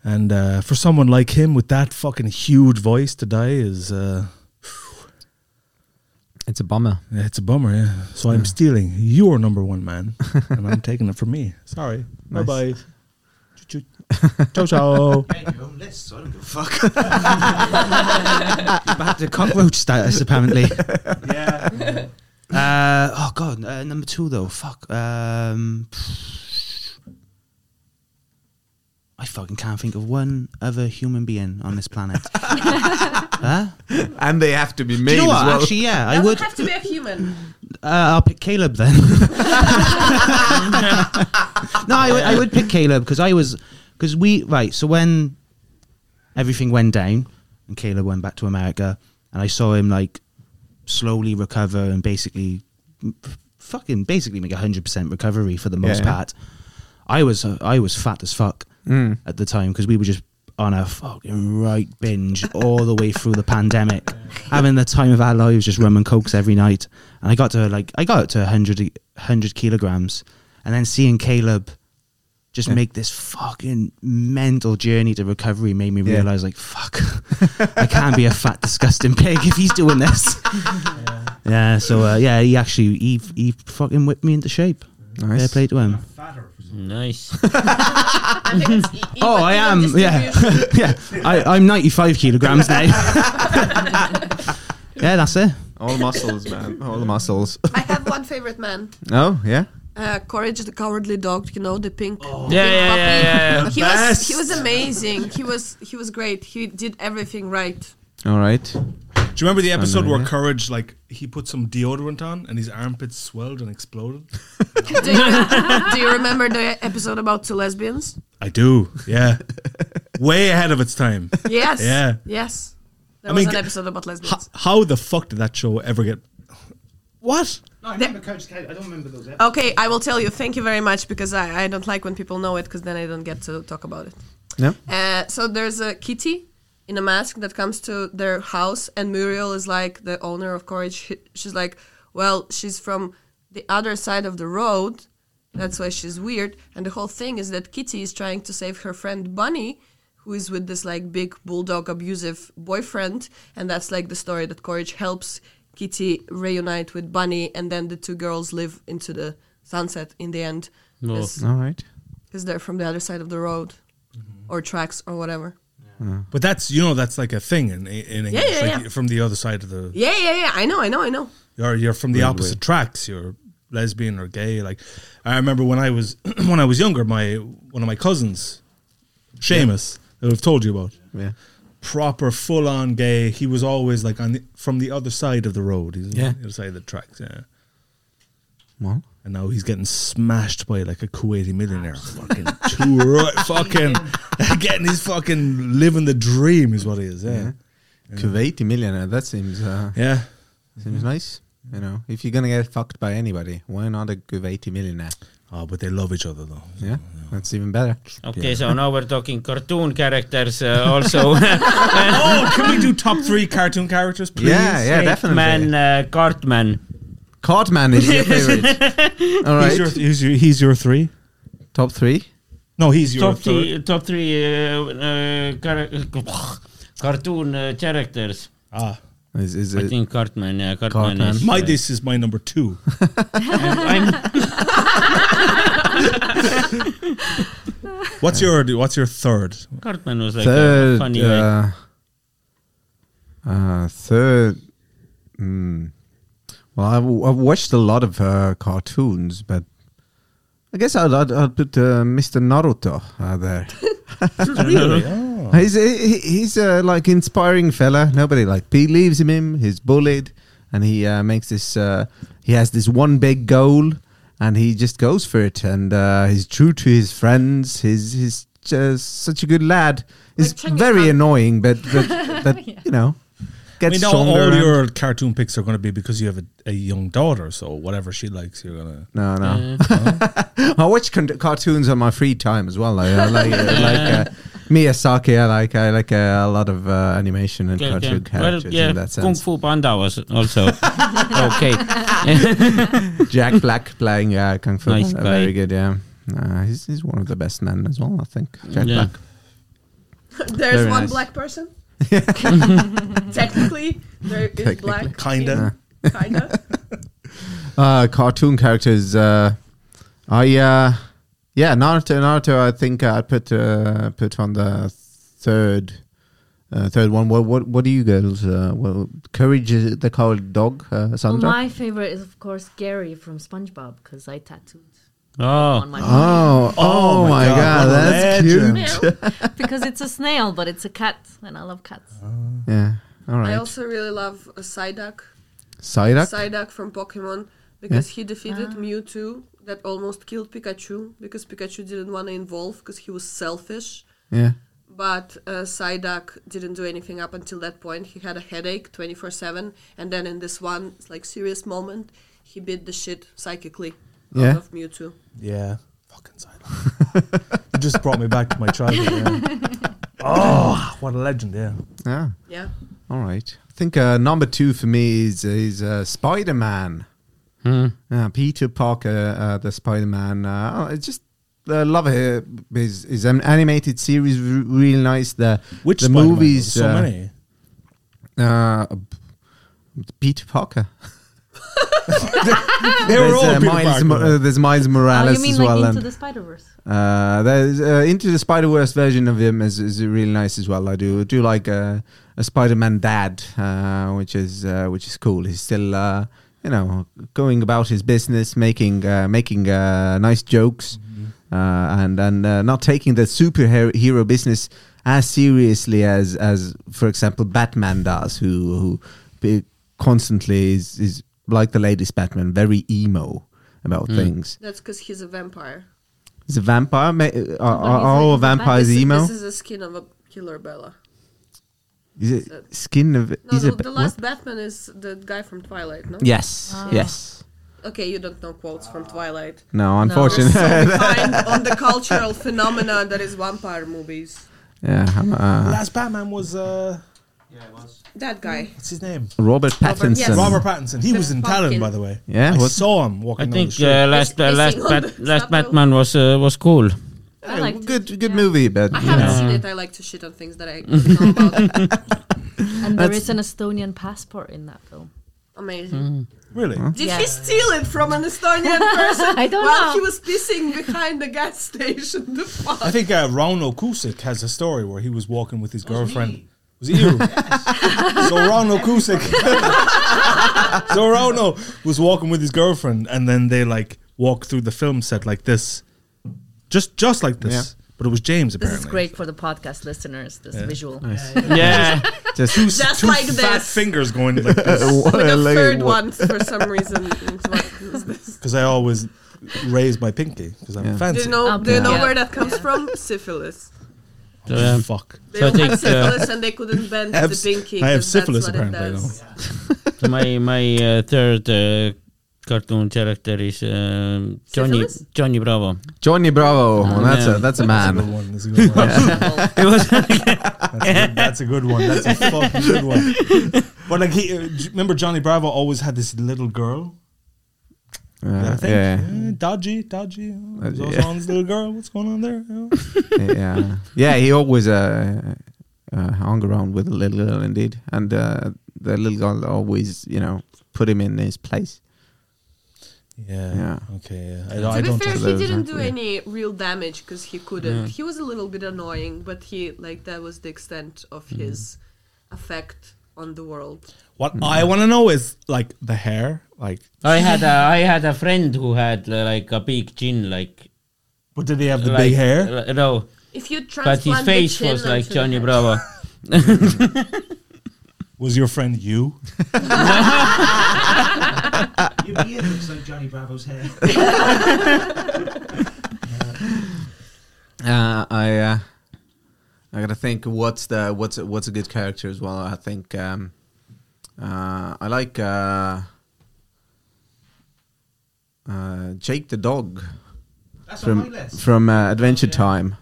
C: And uh, for someone like him with that fucking huge voice to die is uh,
B: It's a bummer.
C: yeah, it's a bummer, yeah. So I'm stealing your number one man, and I'm taking it from me. Sorry.
B: Nice.
C: Bye bye. ciao ciao.
H: Make your own list, so I don't give a fuck.
I: Back to cockroach status apparently.
C: yeah.
I: Uh, oh god, uh, number two though. Fuck. Um, I fucking can't think of one other human being on this planet. huh?
B: And they have to be made
I: Do you know
B: as
I: what?
B: well.
I: Actually, yeah, I
F: Doesn't
I: would. Uh,
F: have to be a human.
I: I'll pick Caleb then. no, I would- I would pick Caleb because I was because we right. So when everything went down and Caleb went back to America, and I saw him like slowly recover and basically f- fucking basically make a hundred percent recovery for the most
B: Yeah.
I: part. I was uh, I was fat as fuck
B: Mm.
I: at the time because we were just on a fucking right binge all the way through the pandemic, having the time of our lives, just rum and cokes every night. And I got to like I got up to 100, 100 kilograms, and then seeing Caleb just make this fucking mental journey to recovery made me
B: Yeah.
I: realize like fuck, I can't be a fat disgusting pig if he's doing this. Yeah, so uh, yeah, he actually he he fucking whipped me into shape. Fair
B: Nice.
I: play to him.
A: Nice.
F: I think it's e-
I: Oh,
F: even-
I: I
F: even
I: am. Yeah,
F: distribution.
I: yeah. I, I'm 95 kilograms now. yeah, that's it.
B: All muscles, man. All muscles.
F: I have one favorite man.
B: Oh yeah.
F: Uh, Courage the Cowardly Dog, you know, the pink,
I: Oh.
F: pink
A: Yeah, yeah,
F: puppy.
A: yeah, yeah, yeah.
F: He was he was amazing. He was he was great. He did everything right.
B: All right.
C: Do you remember the episode where
F: eh?
B: yeah.
C: Courage like he put some deodorant on and his armpits swelled and exploded?
F: Do you, do you remember the episode about two lesbians?
C: I do. Yeah. Way ahead of its time.
F: Yes.
C: Yeah.
F: Yes. There
C: I
F: was
C: mean,
F: an
C: g-
F: episode about
C: How,
F: lesbians.
C: how the fuck did that show ever get? What?
H: No, I remember Coach Kelly. I don't remember those episodes.
F: Okay, I will tell you. Thank you very much because I, I don't like when people know it because then I don't get to talk about it.
B: Yeah.
F: Uh, so there's a kitty in a mask that comes to their house, and Muriel is like the owner of Courage. She- She's like, well, she's from the other side of the road. That's why she's weird. And the whole thing is that Kitty is trying to save her friend Bunny, who is with this like big bulldog abusive boyfriend. And that's like the story that Courage helps Kitty reunite with Bunny, and then the two girls live into the sunset in the end.
A: Well,
F: Because
B: All right.
F: they're from the other side of the road or tracks or whatever.
C: But that's you know that's like a thing in in English,
F: yeah,
C: like
F: yeah.
C: from the other side of the.
F: Yeah, yeah, yeah. I know, I know, I know.
C: You're you're from the opposite tracks. You're lesbian or gay. Like I remember when I was when I was younger, my one of my cousins, Seamus, that I've told you about.
B: Yeah.
C: Proper full on gay. He was always like on the, from the other side of the road. He's
B: Yeah.
C: on the other side of the tracks. Yeah.
B: Well,
C: And now he's getting smashed by like a Kuwaiti millionaire. fucking too right, fucking getting his fucking living the dream is what he is. Yeah.
B: Kuwaiti millionaire. That seems uh,
C: Yeah.
H: Mm-hmm.
B: seems nice. You know, if you're gonna get fucked by anybody, why not a Kuwaiti millionaire?
C: Oh, but they love each other though.
B: uh, Yeah, that's even better.
A: Okay, so now we're talking cartoon characters uh, also.
C: oh, can we do top three cartoon characters, please?
B: Yeah, yeah, definitely.
A: Man, uh, Cartman.
B: Cartman is your favorite. All
C: He's,
B: right,
C: your, he's, your, he's your three.
B: top three.
C: No, he's your
A: Top
C: third.
A: three, top three uh, uh, car- cartoon uh, characters.
C: Ah,
B: Is, is
A: I
B: it?
A: think Cartman. Yeah, Cartman.
B: Cartman.
A: Is, uh,
C: my this is my number two. What's your What's your third?
A: Cartman was like a
B: third,
A: funny guy.
B: uh, uh, third. Mm, well, I've, I've watched a lot of uh, cartoons, but I guess I'd, I'd, I'd put uh, Mr. Naruto uh, there.
C: really? Oh.
B: he's he, he's a like inspiring fella. Nobody like believes in him. He's bullied, and he uh, makes this. Uh, he has this one big goal, and he just goes for it. And uh, he's true to his friends. He's he's just such a good lad. He's
F: Like Genghis
B: very
F: Khan.
B: annoying, but but, but you know,
C: we
B: gets
C: know
B: stronger.
C: all
B: and-
C: your cartoon picks are going to be because you have a, a young daughter, so whatever she likes, you're gonna.
B: no, no. I watch con- cartoons on my free time as well. I, I like uh, like uh, Miyazaki. I like I like uh, a lot of uh, animation and
A: Okay,
B: cartoon
A: okay. Well,
B: characters
A: yeah,
B: in that sense.
A: Kung Fu Panda was also okay.
B: Jack Black playing uh, Kung Fu.
A: Nice
B: Uh,
A: guy.
B: Very good, yeah. Uh, he's, he's one of the best men as well, I think. Jack
A: Yeah.
B: Black.
F: There's
B: Very
F: one
B: nice.
F: black person. Technically, there is black.
C: Kinda.
F: in- Kinda.
B: Uh, cartoon characters. Uh, I uh, yeah, Naruto. Naruto. I think I put uh, put on the third. Uh, third one. What what what do you girls? Uh, well, courage is the coward dog. Uh,
G: Well,
F: Oh,
B: Sandra.
G: my favorite is of course Gary from SpongeBob because I tattooed
A: Oh,
G: on my
B: oh, oh
C: Oh my
B: my
C: God,
B: god,
C: what a
B: that's
C: legend.
B: cute.
G: Meow. because it's a snail, but it's a cat, and I love cats.
B: Yeah. All
F: I
B: right.
F: also really love uh, Psyduck.
B: Psyduck.
F: Psyduck from Pokemon because he defeated Mewtwo that almost killed Pikachu because Pikachu didn't want to involve because he was selfish.
B: yeah.
F: But uh, Psyduck didn't do anything up until that point. He had a headache 24 7. And then in this one, like, serious moment, he beat the shit psychically
B: Yeah.
F: out of Mewtwo.
C: Yeah. Fucking silent. you just brought me back to my childhood. Yeah. Oh, what a legend! Yeah.
B: Yeah.
F: Yeah.
B: All right. I think uh, number two for me is is uh, Spider Man.
C: Hmm.
B: Uh, Peter Parker, uh, the Spider Man. Uh, I just uh, love it. His, his an- animated series re- really nice. The
C: Which
B: the
C: Spider-Man?
B: movies.
C: So
B: uh,
C: many.
B: Uh, Peter Parker.
C: They were all Peter
B: Miles
C: Parker.
B: Mo- uh, there's Miles
G: oh,
B: Morales
G: you mean
B: as
G: like
B: well.
G: Into
B: and-
G: the Spider Verse?
B: uh, there's uh, Into the Spider Verse version of him is, is really nice as well. I do do like uh, a Spider Man dad, uh, which is uh, which is cool. He's still uh, you know going about his business, making uh, making uh, nice jokes, uh, and and uh, not taking the superhero business as seriously as as for example Batman does, who who be- constantly is is like the latest Batman, very emo about things.
F: That's because he's a vampire.
B: He's a vampire. Ma- uh, are are
G: he's
B: all
G: like a
B: vampires
F: this,
B: emo?
F: This is the skin of a killer Bella.
B: Is it skin of?
F: No,
B: is
F: the,
B: it
F: the last Batman is the guy from Twilight, no?
B: Yes. Yes.
F: Okay, you don't know quotes from Twilight.
B: No,
F: We're so
B: unfortunately.
F: behind on the cultural phenomena that is vampire movies.
B: yeah, I'm, uh,
C: Last Batman was uh,
F: That guy.
C: what's his name?
B: Robert
F: Robert- yes.
B: Pattinson.
C: Robert Pattinson. He
F: The
C: was in
F: pumpkin.
C: Talon, by the way.
B: Yeah,
C: I
B: what-
C: saw him
A: I
C: walking. down the
A: think
C: street.
A: uh, last uh,
F: It's
A: last
F: missing on
A: bat,
F: the
A: last
F: subtle.
A: Batman was uh, was cool.
G: I liked
B: good,
G: it.
B: good
G: yeah.
B: movie, but
F: I haven't seen it. I like to shit on things that I know about.
G: And there is an Estonian passport in that film.
F: Amazing.
C: Really?
F: Did
G: Yeah.
F: he steal it from an Estonian person
G: I don't
F: while
G: know.
F: he was pissing behind the gas station? The fuck?
C: I think uh, Rauno Kusik has a story where he was walking with his
H: was
C: girlfriend.
H: me.
C: Was it you? so Rauno Kusik. so Rauno was walking with his girlfriend, and then they like walked through the film set like this, just just like this. But it was James
G: This
C: apparently.
G: is great for the podcast listeners. This visual.
A: yeah.
B: Just
F: Just
C: Two
F: like
C: fat
F: this.
C: fingers going like this
F: With the
B: Like,
F: third
B: what-
F: one, for some reason, it's like, is this?
C: because I always raise my pinky because I'm
B: Yeah.
F: Do
C: fancy.
F: you know? Do you know
G: Yeah.
F: where that comes from? Syphilis.
A: So, yeah.
C: Fuck.
F: They
A: So I
F: all had
A: think, uh,
F: syphilis and they couldn't bend
C: I have
F: the
C: s-
F: pinky.
C: I have
F: 'cause that's
C: syphilis
F: what it
C: apparently,
F: does.
A: So my my uh, third uh, cartoon character is um, Johnny
F: Syphilis?
A: Johnny Bravo.
B: Johnny Bravo.
A: Oh,
B: that's
A: man.
B: a that's a
C: That's a
B: man.
C: good one. That's a good one.
A: It was
C: That's a good one. That's a fucking good one. But like, he, uh, j- remember Johnny Bravo always had this little girl. I
B: Yeah,
C: think
B: yeah,
C: Eh, dodgy, dodgy. Oh,
B: Dodgy,
C: Zosan's
B: yeah.
C: little girl. What's going on there? Oh.
B: yeah. Yeah, he always uh, uh, hung around with a little girl, indeed, and uh, the little girl always, you know, put him in his place.
C: Yeah.
B: Yeah.
C: Okay. Yeah. I, don't- I
F: to be
C: don't.
F: fair,
B: think
F: he
B: so.
F: didn't do
B: Yeah.
F: any real damage because he couldn't. He was a little bit annoying, but he like that was the extent of
C: Mm-hmm.
F: his effect on the world.
C: What I want to know is like the hair, like.
A: I had a I had a friend who had uh, like a big chin like
C: But did he have the
A: like,
C: big hair?
A: uh, no,
F: If you
A: but
F: transplant
A: his face
F: the chin
A: was like
F: onto the
A: Johnny
F: head-
A: Bravo.
C: Was your friend you?
H: Your beard looks like Johnny Bravo's hair.
B: Uh, I uh, I gotta think what's the what's a- what's a good character as well. I think um, uh, I like uh, uh, Jake the dog
H: That's on my
B: from
H: list.
B: from uh, Adventure Time.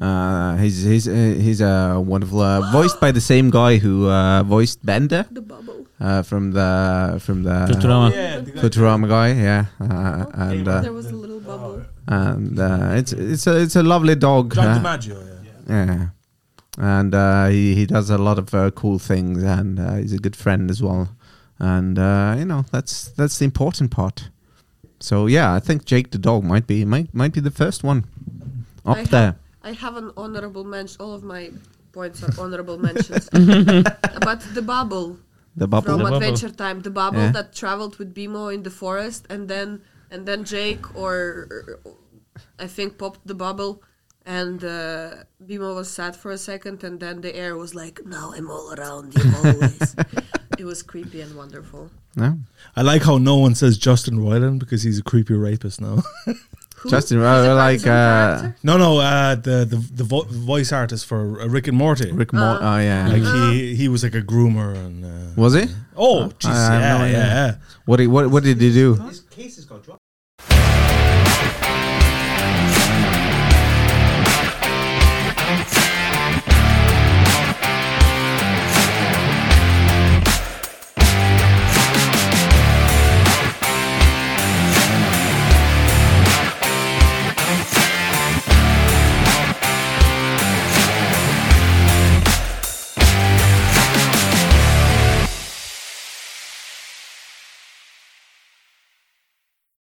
B: Uh, he's he's uh, he's uh, wonderful, uh, voiced by the same guy who uh, voiced Bender
F: The bubble.
B: uh, from the from the
A: Futurama.
C: Yeah. the guy-
B: Futurama guy, yeah, uh, and uh,
F: there was a little bubble.
B: and uh, it's it's a it's a lovely dog.
C: John
B: uh,
C: DiMaggio. Yeah.
B: yeah. And uh, he, he does a lot of uh, cool things and uh, he's a good friend as well. And, uh, you know, that's that's the important part. So, yeah, I think Jake the dog might be might, might be the first one up
F: I have-
B: there.
F: I have an honorable mention. All of my points are honorable mentions. but the bubble
B: The bubble.
F: from
A: bubble.
F: Adventure Time, the bubble
B: Yeah.
F: that traveled with Bimo in the forest, and then and then Jake or I think popped the bubble, and uh, Bimo was sad for a second, and then the air was like, "Now I'm all around you always." it was creepy and wonderful.
B: No?
C: I like how no one says Justin Roiland because he's a creepy rapist now.
F: Who?
B: Justin,
F: He's a
B: uh, like
F: cartoon
B: uh,
F: character?
C: no, no. Uh, the the the vo- voice artist for uh, Rick and Morty.
B: Rick Mort. oh, yeah.
C: Like he he was like a groomer and. Uh,
B: was he?
C: Oh, jeez,
B: I have
C: yeah,
B: no
C: yeah,
B: idea.
C: yeah.
B: What, he- what, what did he do?
H: His case has got dropped.